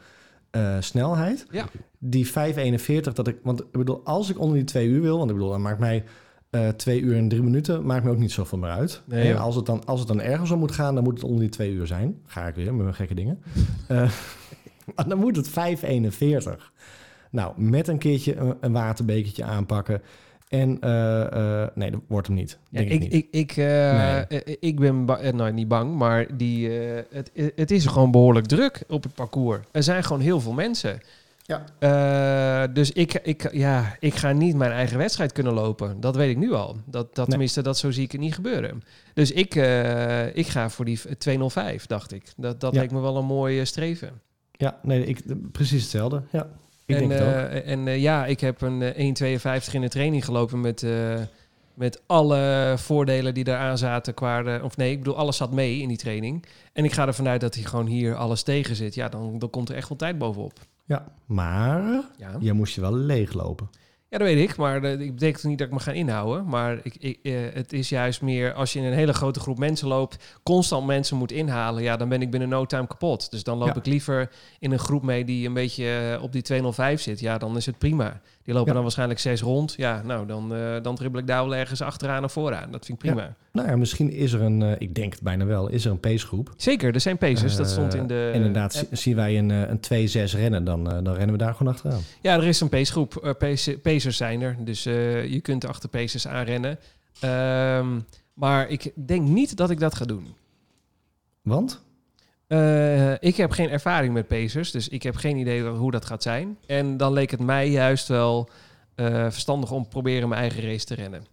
Speaker 2: eh, snelheid.
Speaker 1: Ja.
Speaker 2: Die 5,41, dat ik, want ik bedoel, als ik onder die twee uur wil, want ik bedoel, dan maakt mij eh twee uur en drie minuten, maakt me ook niet zoveel meer uit.
Speaker 1: Nee,
Speaker 2: en
Speaker 1: ja.
Speaker 2: als het, dan, als het dan ergens om moet gaan, dan moet het onder die twee uur zijn. Ga ik weer met mijn gekke dingen. Eh, maar dan moet het 5,41. Nou, met een keertje een, een waterbekertje aanpakken. En eh, eh, nee, dat wordt hem niet.
Speaker 1: Ja,
Speaker 2: denk
Speaker 1: ik,
Speaker 2: niet.
Speaker 1: ik, ik, eh, eh, ik ben ba- eh, nou, niet bang, maar die, eh, het, eh, het is gewoon behoorlijk druk op het parcours. Er zijn gewoon heel veel mensen.
Speaker 2: Ja.
Speaker 1: Eh, dus ik, ik, ja, ik ga niet mijn eigen wedstrijd kunnen lopen. Dat weet ik nu al. Dat, dat,
Speaker 2: Nee.
Speaker 1: Tenminste, dat zo zie ik het niet gebeuren. Dus ik, eh, ik ga voor die 205, dacht ik. Dat, dat
Speaker 2: Ja.
Speaker 1: lijkt me wel een mooie streven.
Speaker 2: Ja, nee, ik, precies hetzelfde. Ja, ik
Speaker 1: en
Speaker 2: denk het ook.
Speaker 1: eh, en eh, ja, ik heb een eh, 1,52 in de training gelopen met, eh, met alle voordelen die eraan zaten. Qua, de- of nee, ik bedoel, alles zat mee in die training. En ik ga ervan uit dat hij gewoon hier alles tegen zit. Ja, dan, dan komt er echt wel tijd bovenop.
Speaker 2: Ja, maar
Speaker 1: Ja,
Speaker 2: jij moest je wel leeglopen.
Speaker 1: ja dat weet ik. Maar eh, ik betekent niet dat ik me ga inhouden. Maar ik, ik, eh, het is juist meer als je in een hele grote groep mensen loopt, constant mensen moet inhalen. Ja, dan ben ik binnen no time kapot. Dus dan loop
Speaker 2: Ja.
Speaker 1: ik liever in een groep mee die een beetje eh, op die 205 zit. Ja, dan is het prima. Die lopen
Speaker 2: Ja.
Speaker 1: dan waarschijnlijk zes rond. Ja, nou, dan, eh, dan dribbel ik daar wel ergens achteraan of vooraan. Dat vind ik
Speaker 2: Ja.
Speaker 1: prima.
Speaker 2: Nou ja, misschien is er een, eh, ik denk het bijna wel, is er een pacegroep.
Speaker 1: Zeker, er zijn pacers. dat
Speaker 2: Eh,
Speaker 1: stond in de...
Speaker 2: Inderdaad, zi- zien wij een, eh, een 2-6 rennen, dan, eh, dan rennen we daar gewoon achteraan.
Speaker 1: Ja, er is een pacegroep. Eh, pace- pacers zijn er. Dus eh, je kunt achter pacers aanrennen. Ehm, maar ik denk niet dat ik dat ga doen.
Speaker 2: Want?
Speaker 1: Eh, ik heb geen ervaring met Pacers, dus ik heb geen idee wel hoe dat gaat zijn. En dan leek het mij juist wel eh, verstandig om te proberen mijn eigen race te rennen.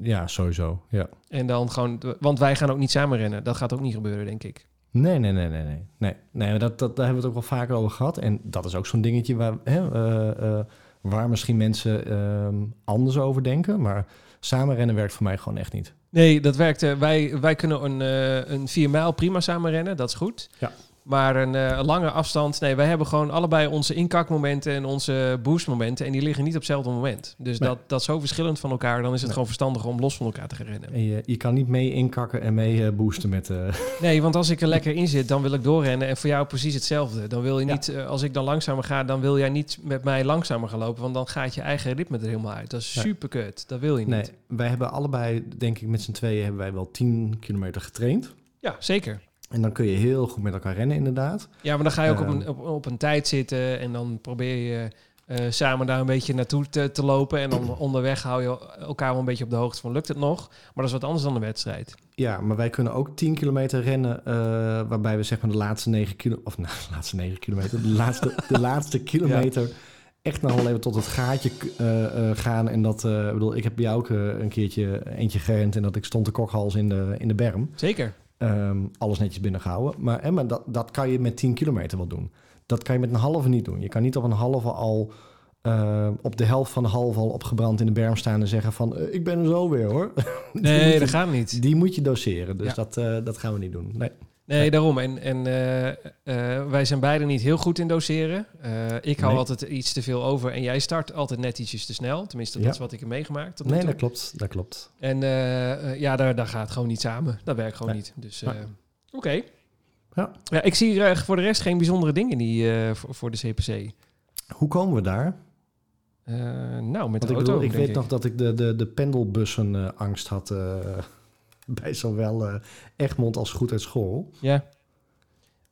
Speaker 2: Ja, sowieso. Ja.
Speaker 1: En dan gewoon, want wij gaan ook niet samen rennen. Dat gaat ook niet gebeuren, denk ik.
Speaker 2: Nee, nee, nee, nee, nee. nee. nee maar dat, dat, daar hebben we het ook wel vaker over gehad. En dat is ook zo'n dingetje waar, hè, eh, eh, waar misschien mensen ehm, anders over denken. Maar samen rennen werkt voor mij gewoon echt niet.
Speaker 1: Nee, dat werkt. eh, Wij, wij kunnen een, eh een 4 mijl prima samen rennen, dat is goed.
Speaker 2: Ja.
Speaker 1: Maar een eh, lange afstand, nee, wij hebben gewoon allebei onze inkakmomenten en onze boostmomenten. En die liggen niet op hetzelfde moment. Dus
Speaker 2: Nee.
Speaker 1: dat, dat is zo verschillend van elkaar, dan is het
Speaker 2: Nee.
Speaker 1: gewoon verstandig om los van elkaar te gaan rennen.
Speaker 2: En je, je kan niet mee inkakken en mee eh, boosten met... eh,
Speaker 1: Nee, want als ik er lekker in zit, dan wil ik doorrennen. En voor jou precies hetzelfde. Dan wil je
Speaker 2: Ja.
Speaker 1: niet, eh, als ik dan langzamer ga, dan wil jij niet met mij langzamer gaan lopen. Want dan gaat je eigen ritme er helemaal uit. Dat is
Speaker 2: Nee.
Speaker 1: super kut. Dat wil je niet.
Speaker 2: nee, wij hebben allebei, denk ik, met z'n tweeën hebben wij wel 10 kilometer getraind.
Speaker 1: Ja, zeker.
Speaker 2: En dan kun je heel goed met elkaar rennen, inderdaad.
Speaker 1: Ja, maar dan ga je ook op,
Speaker 2: Ehm.
Speaker 1: een, op, op een tijd zitten en dan probeer je eh, samen daar een beetje naartoe te, te lopen. En dan onderweg hou je elkaar wel een beetje op de hoogte van lukt het nog. Maar dat is wat anders dan een wedstrijd.
Speaker 2: Ja, maar wij kunnen ook 10 kilometer rennen, eh, waarbij we zeg maar de laatste 9 kilometer, of nou, de laatste 9 kilometer, de laatste, de laatste kilometer echt nou wel even tot het gaatje eh, eh, gaan. En dat, eh, ik bedoel, ik heb bij jou ook eh, een keertje eentje gerend en dat ik stond de kokhals in de, in de berm.
Speaker 1: Zeker.
Speaker 2: Ehm, alles netjes binnengehouden. Maar, hè, maar dat, dat kan je met 10 kilometer wel doen. Dat kan je met een halve niet doen. Je kan niet op een halve al, eh, op de helft van de halve al opgebrand in de berm staan en zeggen van, eh, ik ben er zo weer hoor.
Speaker 1: Nee, dat gaat niet.
Speaker 2: Die moet je doseren, dus
Speaker 1: Ja.
Speaker 2: dat, eh, dat gaan we niet doen. Nee.
Speaker 1: Nee, daarom. En, en eh, eh, wij zijn beide niet heel goed in doseren. Eh, ik hou
Speaker 2: Nee.
Speaker 1: altijd iets te veel over en jij start altijd net ietsjes te snel. Tenminste, dat
Speaker 2: Ja.
Speaker 1: is wat ik heb meegemaakt. Tot nu
Speaker 2: nee,
Speaker 1: toe.
Speaker 2: dat klopt, dat klopt.
Speaker 1: En eh, eh, ja, daar, daar gaat het gewoon niet samen. Dat werkt gewoon
Speaker 2: Nee.
Speaker 1: niet. Dus eh,
Speaker 2: Nee.
Speaker 1: oké.
Speaker 2: Ja.
Speaker 1: Ja, ik zie eh, voor de rest geen bijzondere dingen die, eh, voor, voor de CPC.
Speaker 2: Hoe komen we daar?
Speaker 1: Eh, nou, met
Speaker 2: Want
Speaker 1: de
Speaker 2: ik,
Speaker 1: auto.
Speaker 2: bedoel, ik
Speaker 1: denk
Speaker 2: weet nog dat ik de, de, de pendelbussen eh, angst had eh, bij zowel eh, Egmond als Goed uit School.
Speaker 1: Ja.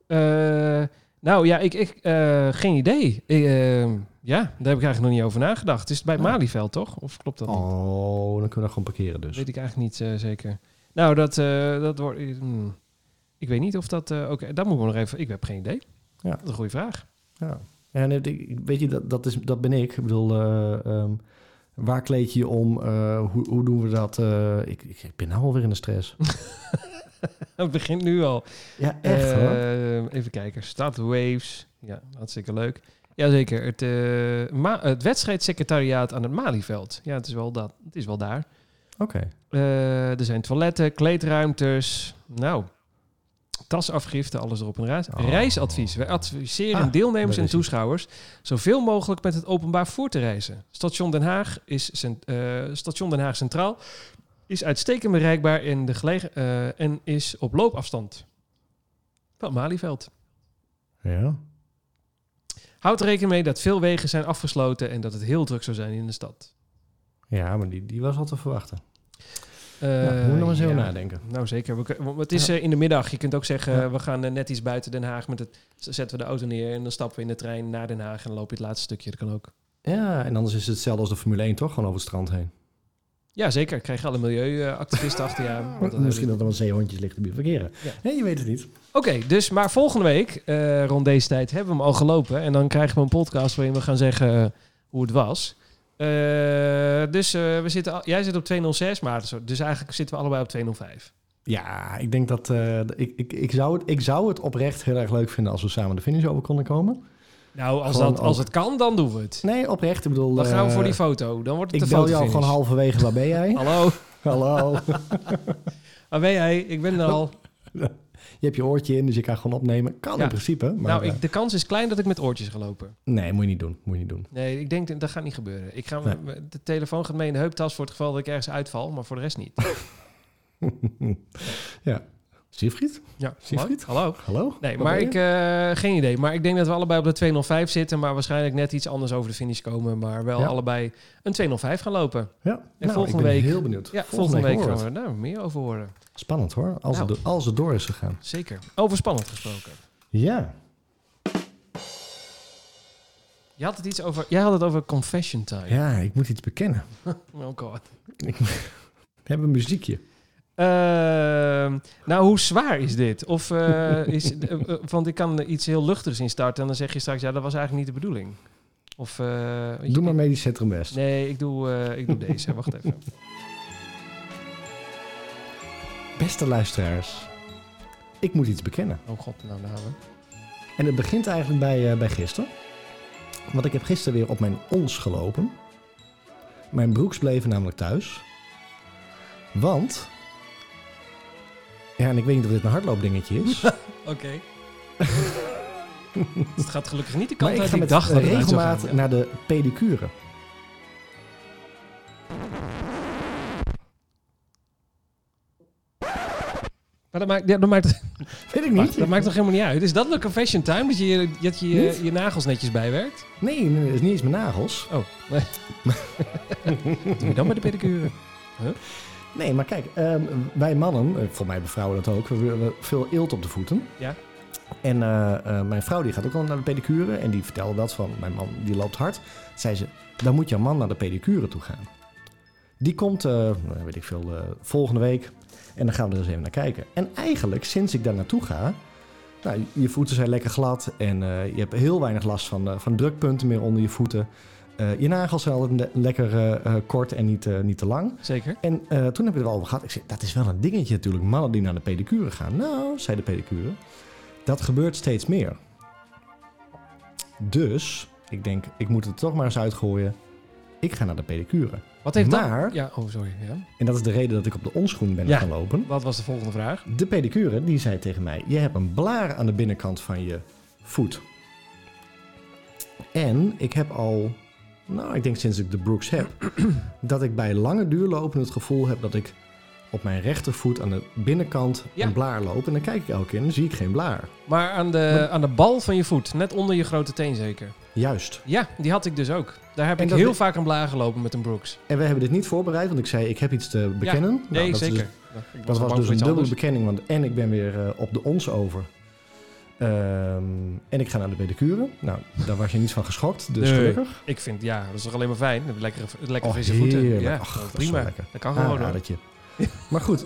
Speaker 1: Eh, nou ja, ik, ik eh, geen idee. Ik, eh, ja, daar heb ik eigenlijk nog niet over nagedacht. Het is bij het
Speaker 2: Ja.
Speaker 1: Malieveld, toch? Of klopt dat niet?
Speaker 2: Oh, dan kunnen we gewoon parkeren dus.
Speaker 1: Weet ik eigenlijk niet eh, zeker. Nou, dat, eh, dat wordt. hmm. Ik weet niet of dat. eh Oké, dat moeten we nog even. Ik heb geen idee.
Speaker 2: Ja.
Speaker 1: Dat is een goede vraag.
Speaker 2: Ja. En het- ik- weet je, dat, dat, is, dat ben ik. Ik bedoel, eh, ehm, waar kleed je je om? Eh, hoe, hoe doen we dat? Eh, ik, ik, ik ben nou alweer in de stress.
Speaker 1: Nou, Het begint nu al.
Speaker 2: ja, echt
Speaker 1: Eh,
Speaker 2: hoor.
Speaker 1: Even kijken. Stad Waves. Ja, hartstikke leuk. Jazeker. Het, eh ma- het wedstrijdsecretariaat aan het Malieveld. Ja, het is wel, dat. Het is wel daar.
Speaker 2: Oké.
Speaker 1: Eh, er zijn toiletten, kleedruimtes. Nou, tasafgifte, alles erop en raad.
Speaker 2: Oh.
Speaker 1: Reisadvies. Wij adviseren
Speaker 2: Ah,
Speaker 1: deelnemers
Speaker 2: daar
Speaker 1: en
Speaker 2: is ie.
Speaker 1: toeschouwers zoveel mogelijk met het openbaar voor te reizen. Station Den Haag is cent- eh, Station Den Haag Centraal is uitstekend bereikbaar in de gelegen, eh, en is op loopafstand van Malieveld.
Speaker 2: Ja.
Speaker 1: Houd er rekening mee dat veel wegen zijn afgesloten en dat het heel druk zou zijn in de stad.
Speaker 2: ja, maar die, die was al te verwachten.
Speaker 1: Eh,
Speaker 2: Ja, moet nog eens heel
Speaker 1: ja.
Speaker 2: nadenken.
Speaker 1: Nou zeker, we kun- want het is
Speaker 2: Ja.
Speaker 1: eh, in de middag. Je kunt ook zeggen,
Speaker 2: Ja.
Speaker 1: we gaan eh, net iets buiten Den Haag. Met het, z- zetten we de auto neer en dan stappen we in de trein naar Den Haag. En dan loop je het laatste stukje, dat kan ook.
Speaker 2: Ja, en anders is het hetzelfde als de Formule 1, toch? Gewoon over het strand heen.
Speaker 1: Ja zeker, krijg je alle milieuactivisten achter je aan. want dat hebben
Speaker 2: Misschien dat er wel zeehondjes liggen te verkeren.
Speaker 1: Ja.
Speaker 2: Nee, je weet het niet.
Speaker 1: we- Oké, dus maar volgende week, eh, rond deze tijd, hebben we hem al gelopen. En dan krijgen we een podcast waarin we gaan zeggen eh, hoe het was. Eh, dus eh, we zitten, al- jij zit op 206, maar zo- dus eigenlijk zitten we allebei op 205.
Speaker 2: Ja, ik denk dat... eh, ik, ik, ik, zou het, ik zou het oprecht heel erg leuk vinden als we samen de finish over konden komen.
Speaker 1: Nou, als,
Speaker 2: Gewoon
Speaker 1: dat, als
Speaker 2: ook.
Speaker 1: het kan, dan doen we het.
Speaker 2: Nee, oprecht. Ik bedoel...
Speaker 1: Dan gaan we
Speaker 2: eh,
Speaker 1: voor die foto. Dan wordt het
Speaker 2: Ik
Speaker 1: de
Speaker 2: bel
Speaker 1: foto.
Speaker 2: jou gewoon halverwege, waar ben jij?
Speaker 1: Hallo,
Speaker 2: Hallo.
Speaker 1: waar Ah, ben jij? Ik ben er al.
Speaker 2: Je hebt je oortje in, dus je kan gewoon opnemen. Kan
Speaker 1: Ja.
Speaker 2: in principe, maar...
Speaker 1: nou, ik,
Speaker 2: eh,
Speaker 1: de kans is klein dat ik met oortjes ga lopen.
Speaker 2: nee, moet je niet doen. Moet je niet doen.
Speaker 1: Nee, ik denk dat dat gaat niet gebeuren. Ik ga,
Speaker 2: Nee.
Speaker 1: De telefoon gaat mee in de heuptas voor het geval dat ik ergens uitval, maar voor de rest niet.
Speaker 2: Siegfried?
Speaker 1: Ja,
Speaker 2: Zie je
Speaker 1: hallo?
Speaker 2: het?
Speaker 1: hallo?
Speaker 2: Hallo?
Speaker 1: Nee,
Speaker 2: Waar
Speaker 1: maar
Speaker 2: ben
Speaker 1: ik, eh, geen idee. Maar ik denk dat we allebei op de 205 zitten, maar waarschijnlijk net iets anders over de finish komen. Maar wel
Speaker 2: Ja.
Speaker 1: allebei een 205 gaan lopen.
Speaker 2: Ja. Nou,
Speaker 1: eh, volgende
Speaker 2: ik ben
Speaker 1: week-
Speaker 2: heel benieuwd.
Speaker 1: Ja, volgende, week
Speaker 2: horen
Speaker 1: gaan
Speaker 2: we
Speaker 1: we daar meer over horen.
Speaker 2: het. Spannend hoor, als,
Speaker 1: Nou.
Speaker 2: het, do- als het door is gegaan.
Speaker 1: Zeker. Over spannend gesproken.
Speaker 2: Ja.
Speaker 1: Je had het iets over, jij had het over confession time.
Speaker 2: Ja, ik moet iets bekennen.
Speaker 1: Oh god.
Speaker 2: We hebben een muziekje.
Speaker 1: Ehm, nou, hoe zwaar is dit? Of eh, is, eh, eh, want ik kan er iets heel luchtigs in starten en dan zeg je straks, ja, dat was eigenlijk niet de bedoeling. Of eh, weet je-
Speaker 2: Doe maar medisch centrum best.
Speaker 1: Nee, ik doe, eh, ik doe deze. Wacht even.
Speaker 2: Beste luisteraars, ik moet iets bekennen.
Speaker 1: Oh god, nou, nou. hè.
Speaker 2: En het begint eigenlijk bij, eh, bij gisteren. Want ik heb gisteren weer op mijn ons gelopen. Mijn broeks bleven namelijk thuis. Want. Ja, en ik weet niet of dit een hardloopdingetje is.
Speaker 1: Oké. het gaat gelukkig niet de
Speaker 2: maar
Speaker 1: kant
Speaker 2: ik
Speaker 1: uit die
Speaker 2: ga met eh,
Speaker 1: ik dacht dat het uit zou gaan.
Speaker 2: regelmaat naar de pedicure.
Speaker 1: Maar dat maakt, ja, dat, maakt,
Speaker 2: Weet ik niet.
Speaker 1: dat maakt toch helemaal niet uit? Is dat een fashion time? Dat je je, dat je,
Speaker 2: Niet?
Speaker 1: je, je nagels netjes bijwerkt?
Speaker 2: Nee, nee, nee, dat is niet eens mijn nagels.
Speaker 1: Oh, nee. Doe je dan bij de pedicure?
Speaker 2: Nee, maar kijk, ehm, wij mannen, eh, voor mij bevrouwen dat ook, we hebben veel eelt op de voeten.
Speaker 1: Ja.
Speaker 2: En eh, eh, mijn vrouw die gaat ook al naar de pedicure en die vertelde dat van mijn man die loopt hard. Zei ze, dan moet jouw man naar de pedicure toe gaan. Die komt, eh, nou, weet ik veel, eh, volgende week en dan gaan we er eens even naar kijken. En eigenlijk, sinds ik daar naartoe ga, nou, je voeten zijn lekker glad en eh, je hebt heel weinig last van, eh, van drukpunten meer onder je voeten. Eh, je nagels zijn altijd le- lekker eh, eh, kort en niet, eh, niet te lang.
Speaker 1: Zeker.
Speaker 2: En eh, toen heb ik het al over gehad. Ik zei, dat is wel een dingetje natuurlijk. Mannen die naar de pedicure gaan. Nou, zei de pedicure. Dat gebeurt steeds meer. Dus, ik denk, ik moet het toch maar eens uitgooien. Ik ga naar de pedicure.
Speaker 1: Wat heeft
Speaker 2: Maar-
Speaker 1: dat... Ja, oh, sorry. Ja.
Speaker 2: En dat is de reden dat ik op de onschoen ben
Speaker 1: Ja.
Speaker 2: gaan lopen.
Speaker 1: Wat was de volgende vraag?
Speaker 2: De pedicure, die zei tegen mij... Je hebt een blaar aan de binnenkant van je voet. En ik heb al... Nou, ik denk sinds ik de Brooks heb... dat ik bij lange duurlopen het gevoel heb dat ik... op mijn rechtervoet aan de binnenkant
Speaker 1: Ja.
Speaker 2: een blaar loop. En dan kijk ik elke keer en dan zie ik geen blaar.
Speaker 1: Maar aan de, aan de bal van je voet, net onder je grote teen zeker.
Speaker 2: Juist.
Speaker 1: Ja, die had ik dus ook. Daar heb
Speaker 2: En
Speaker 1: ik
Speaker 2: dat
Speaker 1: heel
Speaker 2: we-
Speaker 1: vaak aan blaar gelopen met een Brooks.
Speaker 2: En we hebben dit niet voorbereid, want ik zei... ik heb iets te bekennen. Nou,
Speaker 1: Nee,
Speaker 2: dat is
Speaker 1: zeker.
Speaker 2: dus-
Speaker 1: Ja, ik
Speaker 2: Dat
Speaker 1: al
Speaker 2: was
Speaker 1: bang
Speaker 2: dus
Speaker 1: voor
Speaker 2: een
Speaker 1: iets
Speaker 2: dubbele
Speaker 1: anders.
Speaker 2: bekenning, want en ik ben weer eh, op de ons over. Ehm, en ik ga naar de pedicure. Nou, daar was je niet van geschokt, dus
Speaker 1: Nee.
Speaker 2: gelukkere
Speaker 1: Ik vind, ja, dat is toch alleen maar fijn. Lekker, lekker
Speaker 2: Oh,
Speaker 1: frisse voeten.
Speaker 2: heerlijk.
Speaker 1: Ja,
Speaker 2: Ach, dat is
Speaker 1: prima.
Speaker 2: wel
Speaker 1: Dat,
Speaker 2: lekker. Ah,
Speaker 1: kan gewoon. hoor.
Speaker 2: aanradertje. Maar goed.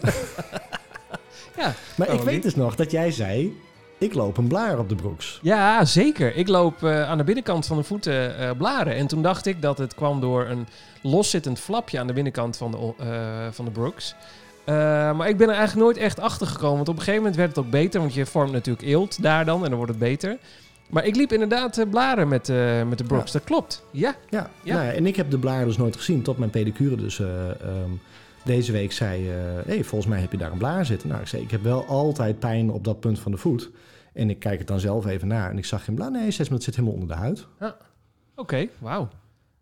Speaker 1: Ja,
Speaker 2: maar ik
Speaker 1: waarom
Speaker 2: weet
Speaker 1: niet?
Speaker 2: dus nog dat jij zei, ik loop een blaar op de broeks.
Speaker 1: Ja, zeker. Ik loop eh, aan de binnenkant van de voeten eh, blaren. En toen dacht ik dat het kwam door een loszittend flapje aan de binnenkant van de, o- eh, van de Brooks. Eh, maar ik ben er eigenlijk nooit echt achter gekomen. Want op een gegeven moment werd het ook beter. Want je vormt natuurlijk eelt daar dan en dan wordt het beter. Maar ik liep inderdaad eh, blaren met, eh, met de Brooks. Dat klopt. Ja.
Speaker 2: Ja,
Speaker 1: Ja.
Speaker 2: Nou, en ik heb de blaar dus nooit gezien, tot mijn pedicure dus eh, ehm, deze week zei... eh hey, volgens mij heb je daar een blaar zitten. Nou, ik zei, ik heb wel altijd pijn op dat punt van de voet. En ik kijk het dan zelf even naar en ik zag geen blaar. Nee, zes, maar het zit helemaal onder de huid.
Speaker 1: Oké, wauw.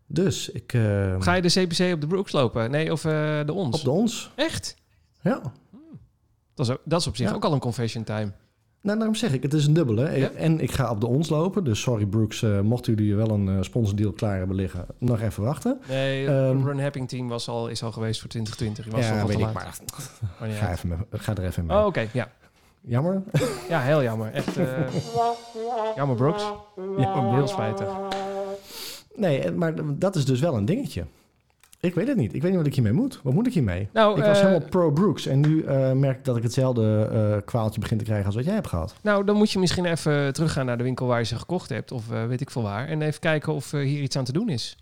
Speaker 2: Dus ik... ehm,
Speaker 1: Ga je de CPC op de Brooks lopen? Nee, of eh, de ons?
Speaker 2: Op de ons.
Speaker 1: Echt?
Speaker 2: Ja.
Speaker 1: Dat is, ook- dat is op zich
Speaker 2: Ja.
Speaker 1: ook al een confession time.
Speaker 2: Nou, daarom zeg ik, het is een dubbele.
Speaker 1: Ja.
Speaker 2: En ik ga op de ons lopen. Dus sorry Brooks, eh, mochten jullie wel een eh, sponsordeal klaar hebben liggen, nog even wachten.
Speaker 1: Nee,
Speaker 2: Ehm,
Speaker 1: Run Happing Team was al, is al geweest voor 2020. Je was toch
Speaker 2: ja,
Speaker 1: al
Speaker 2: weet
Speaker 1: te
Speaker 2: ik
Speaker 1: laat.
Speaker 2: maar.
Speaker 1: Maar niet
Speaker 2: Ga,
Speaker 1: uit.
Speaker 2: even mee- ga er even mee.
Speaker 1: Oh, oké. Ja.
Speaker 2: Jammer.
Speaker 1: ja, heel jammer. Echt eh, jammer, Brooks.
Speaker 2: Oh.
Speaker 1: Ja, heel spijtig.
Speaker 2: Nee, eh, maar dat is dus wel een dingetje. Ik weet het niet. Ik weet niet wat ik hiermee moet. Wat moet ik hiermee?
Speaker 1: Nou,
Speaker 2: ik was
Speaker 1: eh,
Speaker 2: helemaal pro Brooks en nu eh, merk ik dat ik hetzelfde eh, kwaaltje begin te krijgen als wat jij hebt gehad.
Speaker 1: nou, dan moet je misschien even teruggaan naar de winkel waar je ze gekocht hebt. Of eh, weet ik veel waar. En even kijken of eh, hier iets aan te doen is.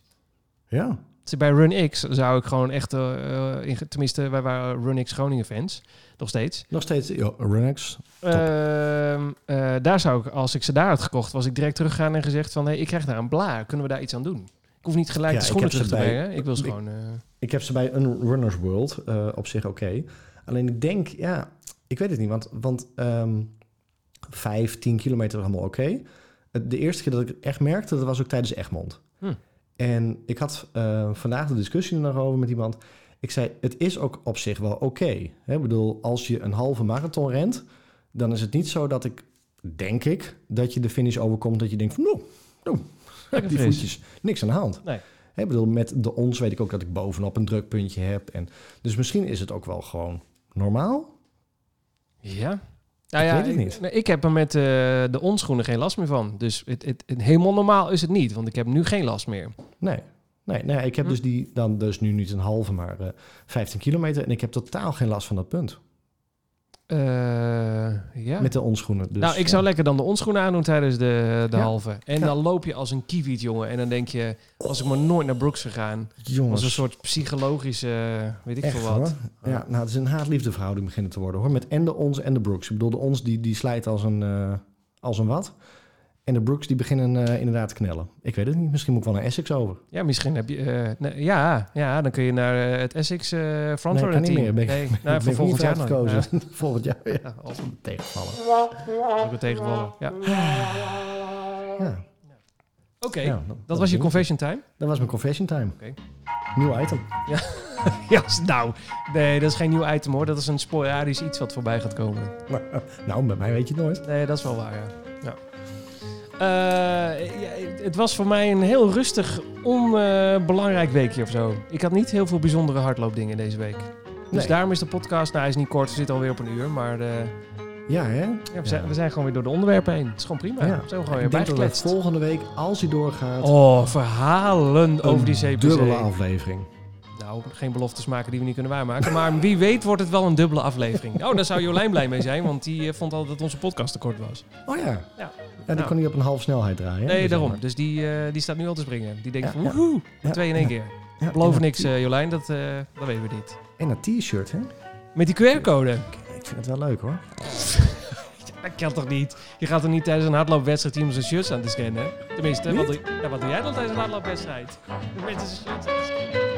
Speaker 2: Ja.
Speaker 1: Dus Bij Run X zou ik gewoon echt... eh, eh, in- tenminste, wij waren Run X Groningen fans. Nog steeds.
Speaker 2: Nog steeds, oh, Runex.
Speaker 1: Ehm, eh, daar zou ik, als ik ze daar had gekocht, was ik direct teruggegaan en gezegd van... Hé, ik krijg daar een blaar. Kunnen we daar iets aan doen? Ik hoef niet gelijk
Speaker 2: Ja,
Speaker 1: de
Speaker 2: ik
Speaker 1: schoenen
Speaker 2: heb
Speaker 1: terug
Speaker 2: ze
Speaker 1: te
Speaker 2: bij-
Speaker 1: brengen. Ik wil ze
Speaker 2: ik-
Speaker 1: gewoon... eh,
Speaker 2: Ik heb ze bij een Runner's World eh, op zich oké. Alleen ik denk, ja, ik weet het niet. Want, want ehm 5, 10 kilometer was allemaal oké. Het- De eerste keer dat ik het echt merkte, dat was ook tijdens Egmond.
Speaker 1: Hm.
Speaker 2: En ik had eh, vandaag de discussie er nog over met iemand. Ik zei, het is ook op zich wel oké. Hè, Ik bedoel, als je een halve marathon rent, dan is het niet zo dat ik, denk ik, dat je de finish overkomt. Dat je denkt van, nou,
Speaker 1: lekker
Speaker 2: die
Speaker 1: fris.
Speaker 2: voetjes. Niks aan de hand.
Speaker 1: Nee.
Speaker 2: Ik bedoel, met de ons weet ik ook dat ik bovenop een drukpuntje heb. En, dus misschien is het ook wel gewoon normaal.
Speaker 1: Ja. Nou
Speaker 2: Ik
Speaker 1: ja,
Speaker 2: weet het
Speaker 1: ik,
Speaker 2: niet.
Speaker 1: nee, ik heb er met eh, de onschoenen geen last meer van. Dus het, het, het- helemaal normaal is het niet, want ik heb nu geen last meer.
Speaker 2: Nee. Nee, nee ik heb
Speaker 1: Hm.
Speaker 2: dus die dan dus nu niet een halve, maar eh 15 kilometer. En ik heb totaal geen last van dat punt.
Speaker 1: Eh, ja.
Speaker 2: Met de onschoenen. Dus,
Speaker 1: nou, ik zou lekker dan de onschoenen aandoen tijdens de, de
Speaker 2: Ja.
Speaker 1: halve. En
Speaker 2: Ja.
Speaker 1: dan loop je als een kiewiet, jongen. En dan denk je, als ik maar nooit naar Brooks gegaan.
Speaker 2: lekker jongens.
Speaker 1: Als een soort psychologische, eh, weet ik
Speaker 2: Oh, echt,
Speaker 1: veel wat.
Speaker 2: hoor. Ja, nou, het is een haat-liefde verhouding beginnen te worden hoor. Met en de ons en de Brooks. Ik bedoel, de ons die, die slijt als een, eh, als een wat. En de Brooks die beginnen eh, inderdaad te knellen. Ik weet het niet. Misschien moet ik wel naar Essex over.
Speaker 1: Ja, misschien heb je... eh, nee, ja, ja, dan kun je naar eh, het Essex eh Frontrunner
Speaker 2: kan niet
Speaker 1: team.
Speaker 2: meer. Ben ik-
Speaker 1: nee,
Speaker 2: Nou,
Speaker 1: nou,
Speaker 2: ik ben
Speaker 1: voor
Speaker 2: er niet
Speaker 1: volgend jaar nog.
Speaker 2: uitgekozen. Volgend jaar weer
Speaker 1: Ja, als een
Speaker 2: tegenvallen.
Speaker 1: ook een tegenvaller. Ja. Oké,
Speaker 2: Ja, ja, dat,
Speaker 1: dat was je
Speaker 2: ding.
Speaker 1: confession time.
Speaker 2: Dat was mijn confession time.
Speaker 1: Oké.
Speaker 2: Nieuw item.
Speaker 1: Ja, s- nou, nee, dat is geen nieuw item hoor. Dat is een sporadisch iets wat voorbij gaat komen.
Speaker 2: nou, bij mij weet je het nooit.
Speaker 1: Nee, dat is wel waar, ja. ja. Eh, ja, het was voor mij een heel rustig, onbelangrijk weekje of zo. Ik had niet heel veel bijzondere hardloopdingen deze week. Dus
Speaker 2: Nee.
Speaker 1: daarom is de podcast, nou hij is niet kort, we zitten alweer op een uur. Maar eh,
Speaker 2: Ja, hè?
Speaker 1: ja, we, zijn,
Speaker 2: Ja.
Speaker 1: we zijn gewoon weer door de onderwerpen heen. Het is gewoon prima.
Speaker 2: Ja.
Speaker 1: Zo gewoon weer
Speaker 2: ik denk dat we
Speaker 1: bijgekletst.
Speaker 2: volgende week, als hij doorgaat,
Speaker 1: Oh, verhalen over die
Speaker 2: een
Speaker 1: CPC.
Speaker 2: dubbele aflevering.
Speaker 1: Nou, geen beloftes maken die we niet kunnen waarmaken. Maar wie weet wordt het wel een dubbele aflevering. Oh, daar zou Jolijn blij mee zijn, want die eh, vond altijd dat onze podcast te kort was.
Speaker 2: Oh ja. ja.
Speaker 1: Nou.
Speaker 2: En dan kan hij op een half snelheid draaien.
Speaker 1: Nee,
Speaker 2: Dus
Speaker 1: daarom.
Speaker 2: jammer.
Speaker 1: Dus die, eh, die staat nu al te springen. Die denkt
Speaker 2: Ja,
Speaker 1: van,
Speaker 2: ja.
Speaker 1: woehoe,
Speaker 2: Ja,
Speaker 1: twee in één keer.
Speaker 2: Ja,
Speaker 1: Beloof
Speaker 2: en dat-
Speaker 1: niks, eh, Jolijn, dat, eh, dat weten we niet.
Speaker 2: En dat t-shirt, hè?
Speaker 1: Met die QR-code.
Speaker 2: Ik vind het wel leuk, hoor.
Speaker 1: Dat kan toch niet? Je gaat er niet tijdens een hardloopwedstrijd iemand zijn shirts aan te scannen? Tenminste, wat doe, nou, wat doe jij dan tijdens een hardloopwedstrijd? Mensen zijn shirts aan te scannen.